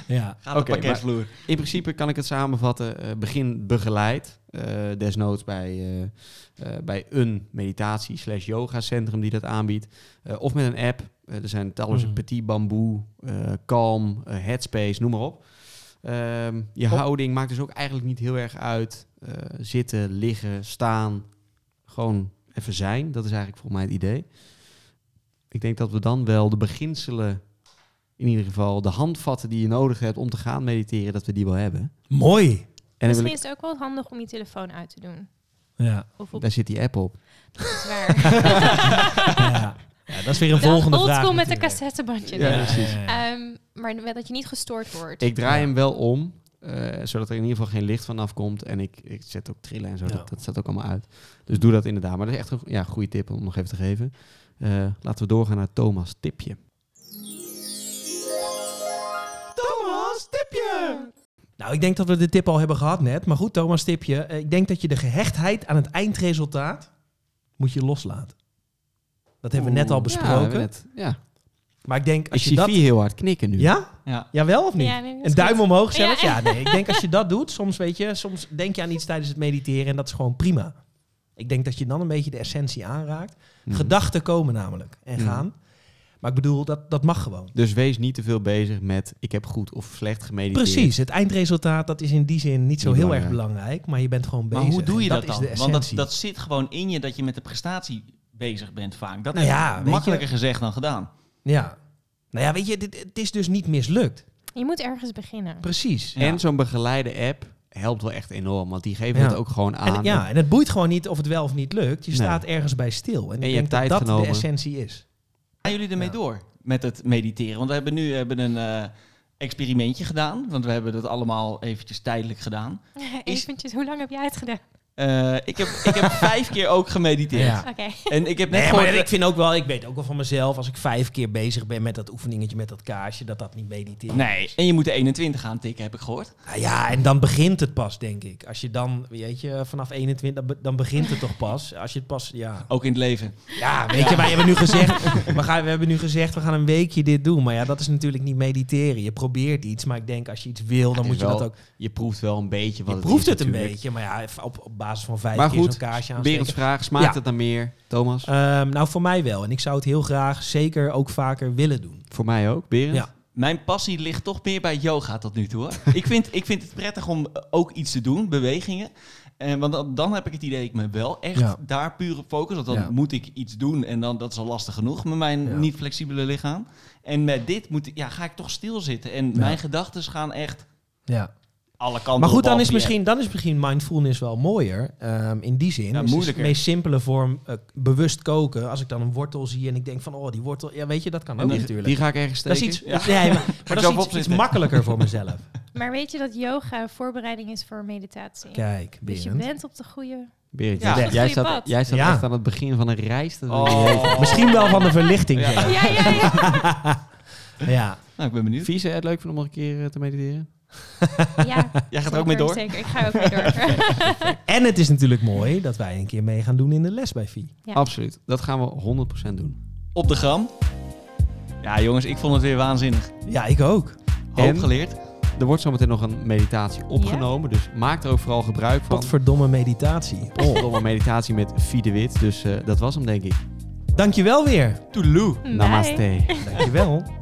S2: Ja.
S5: Gaat op
S3: Oké,
S5: pakketvloer.
S3: In principe kan ik het samenvatten. eh, begin begeleid. eh, desnoods bij, eh, eh, bij een meditatie slash yoga centrum die dat aanbiedt. Eh, of met een app. Eh, er zijn talloze
S2: Mm.
S3: Petit Bamboe, eh, Calm, eh, Headspace, noem maar op. Ehm, je
S2: Op.
S3: houding maakt dus ook eigenlijk niet heel erg uit. Eh, zitten, liggen, staan. Gewoon even zijn. Dat is eigenlijk volgens mij het idee. Ik denk dat we dan wel de beginselen, in ieder geval de handvatten die je nodig hebt om te gaan mediteren, dat we die wel hebben.
S2: Mooi.
S3: En dan wil
S4: Misschien
S3: ik,
S4: is het ook wel handig om je telefoon uit te doen.
S2: Ja.
S4: Of op
S3: daar zit die app op. (laughs)
S4: zwaar.
S2: ja. Ja, dat is weer een volgende
S4: Old
S2: vraag
S4: school met een
S2: natuurlijk.
S4: cassettebandje.
S3: Ja,
S4: nee.
S3: precies.
S2: Ja, ja, ja.
S4: Ehm, maar wel dat je niet gestoord wordt.
S3: Ik draai
S2: Ja.
S3: hem wel om, eh, zodat er in ieder geval geen licht vanaf komt. En ik, ik zet ook trillen en zo,
S2: Ja.
S3: dat, dat staat ook allemaal uit. Dus doe dat inderdaad. Maar dat is echt een go- ja, goede tip om nog even te geven. Eh, laten we doorgaan naar Thomas' tipje.
S2: Thomas, tipje! Nou, ik denk dat we de tip al hebben gehad net. Maar goed, Thomas, tipje. Eh, Ik denk dat je de gehechtheid aan het eindresultaat moet je loslaten. Dat hebben we net al
S5: Oeh.
S3: Ja, we
S2: besproken.
S3: hebben net- ja.
S2: Maar ik denk, als
S3: ik
S2: je
S3: zie
S2: dat...
S3: Vi heel hard knikken nu.
S2: Ja?
S5: Ja.
S2: Jawel of niet?
S4: Ja, nee, dat is
S2: een duim
S4: goed.
S2: omhoog zelfs? Ja.
S4: Ja.
S2: nee. Ik denk als je dat doet, soms weet je, soms denk je aan iets tijdens het mediteren en dat is gewoon prima. Ik denk dat je dan een beetje de essentie aanraakt.
S3: Mhm.
S2: Gedachten komen namelijk en
S3: Mhm.
S2: gaan. Maar ik bedoel, dat, dat mag gewoon.
S3: Dus wees niet te veel bezig met ik heb goed of slecht gemediteerd.
S2: Precies, het eindresultaat dat is in die zin niet zo
S3: Niet
S2: heel
S3: belangrijk.
S2: erg belangrijk, maar je bent gewoon
S5: Maar
S2: bezig.
S5: hoe doe je
S2: En
S5: dat,
S2: dat is
S5: dan?
S2: de
S5: Want dat,
S2: essentie.
S5: dat zit gewoon in je dat je met de prestatie bezig bent vaak. Dat
S2: Nou
S5: is
S2: ja, weet je-
S5: makkelijker gezegd dan gedaan.
S2: Ja. Nou ja, weet je, dit, het is dus niet mislukt.
S4: Je moet ergens beginnen.
S2: Precies.
S5: Ja.
S3: En zo'n begeleide app helpt wel echt enorm, want die geven
S2: Ja.
S3: het ook gewoon aan.
S2: En, ja, en het boeit gewoon niet of het wel of niet lukt. Je
S3: Nee.
S2: staat ergens bij stil. En, ik
S3: je
S2: denk
S3: hebt
S2: dat
S3: tijd
S2: dat
S3: genomen.
S2: de essentie is.
S5: Gaan jullie ermee
S2: Ja.
S5: door met het mediteren? Want we hebben nu hebben een eh, experimentje gedaan. Want we hebben dat allemaal eventjes tijdelijk gedaan. Is-
S4: (laughs) Eventjes, hoe lang heb jij het gedaan?
S5: Eh, ik, heb, ik
S2: (laughs)
S5: heb vijf keer ook gemediteerd.
S2: Ja.
S4: Oké.
S5: En ik heb net
S2: Nee,
S5: gehoord-
S2: maar ik vind ook wel, ik weet ook wel van mezelf, als ik vijf keer bezig ben met dat oefeningetje met dat kaarsje, dat dat niet mediteren
S5: Nee,
S2: is.
S5: en je moet de 21 gaan tikken, heb ik gehoord.
S2: Nou ja, en dan begint het pas, denk ik. Als je dan, weet je, vanaf 21, dan be- dan begint het toch pas. Als je het pas, ja.
S5: Ook in het leven.
S2: Ja, weet je, wij hebben nu
S3: (laughs)
S2: gezegd, we, gaan, we hebben nu gezegd, we gaan een weekje dit doen. Maar ja, dat is natuurlijk niet mediteren. Je probeert iets, maar ik denk als je iets wil, dan
S3: het
S2: moet
S3: is
S2: je dat
S3: wel
S2: ook...
S3: Je proeft wel een beetje wat
S2: Je
S3: het
S2: proeft
S3: is
S2: het een
S3: natuurlijk.
S2: beetje, maar ja, op, op basis van vijf
S3: Maar
S2: keer
S3: goed,
S2: zo'n kaarsje aansteken.
S3: Berends vraag, smaakt
S2: Ja.
S3: het dan meer? Thomas?
S2: Ehm, nou, voor mij wel. En ik zou het heel graag zeker ook vaker willen doen.
S3: Voor mij ook, Berend?
S2: Ja.
S5: Mijn passie ligt toch meer bij yoga tot nu toe.
S2: (laughs)
S5: Hoor. ik, vind, ik vind het prettig om eh, ook iets te doen, bewegingen. Eh, want dan, dan heb ik het idee dat ik me wel echt
S2: Ja.
S5: daar puur op focus. Want dan
S2: Ja.
S5: moet ik iets doen en dan, dat is al lastig genoeg met mijn
S2: Ja.
S5: niet flexibele lichaam. En met dit moet, ik- ja, ga ik toch stilzitten. En mijn gedachten gaan echt
S2: Ja.
S5: alle kanten op.
S2: Maar goed, dan
S5: behalve
S2: is,
S5: die
S2: misschien, dan is misschien mindfulness wel mooier. ehm, in die zin.
S5: Ja,
S2: Het is
S5: moeilijker.
S2: de meest simpele vorm eh, bewust koken. Als ik dan een wortel zie en ik denk van, oh, die wortel... Ja, weet je, dat kan ook
S5: dan-
S2: natuurlijk.
S3: Die ga ik ergens
S2: dat
S3: steken.
S2: is iets, (laughs)
S5: Ja.
S2: nee,
S5: (laughs)
S2: maar, maar dat
S5: zo
S2: is iets, iets
S5: opzitten.
S2: makkelijker
S5: (laughs)
S2: voor mezelf.
S4: Maar weet je dat yoga voorbereiding is voor meditatie?
S2: Kijk,
S4: dus je
S2: Berend.
S4: bent op de goede...
S3: Berend,
S5: Ja.
S3: jij-
S4: Dat is
S3: jij
S4: een goeie
S3: staat,
S4: pad.
S3: jij staat
S2: Ja.
S3: echt aan het begin van een reis. (laughs) Dat wil je
S5: app.
S3: weten.
S5: Oh.
S2: Misschien wel van de verlichting.
S5: (laughs) Ja.
S2: Ja.
S4: Ja, ja, ja.
S2: ja.
S5: Nou, ik ben benieuwd.
S3: Vies, hè? het leuk vinden om nog een keer eh, te mediteren?
S4: ja
S5: Jij gaat er
S4: zeker,
S5: ook mee door?
S4: Zeker, ik ga ook mee
S5: (laughs)
S4: door.
S2: En het is natuurlijk mooi dat wij een keer mee gaan doen in de les bij Vie.
S4: Ja.
S3: Absoluut. Dat gaan we 100% doen.
S5: Op de gram. Ja, jongens, ik vond het weer waanzinnig.
S2: Ja, ik ook.
S5: Hoop
S3: En?
S5: geleerd.
S3: Er wordt zometeen nog een meditatie opgenomen, dus maak er ook vooral gebruik van.
S2: Potverdomme meditatie.
S3: Oh, nog een meditatie met Fie de Wit, dus eh, dat was hem denk ik.
S5: (laughs)
S2: Dankjewel weer.
S5: Toedeloe.
S4: Bye.
S3: Namaste.
S2: Dankjewel.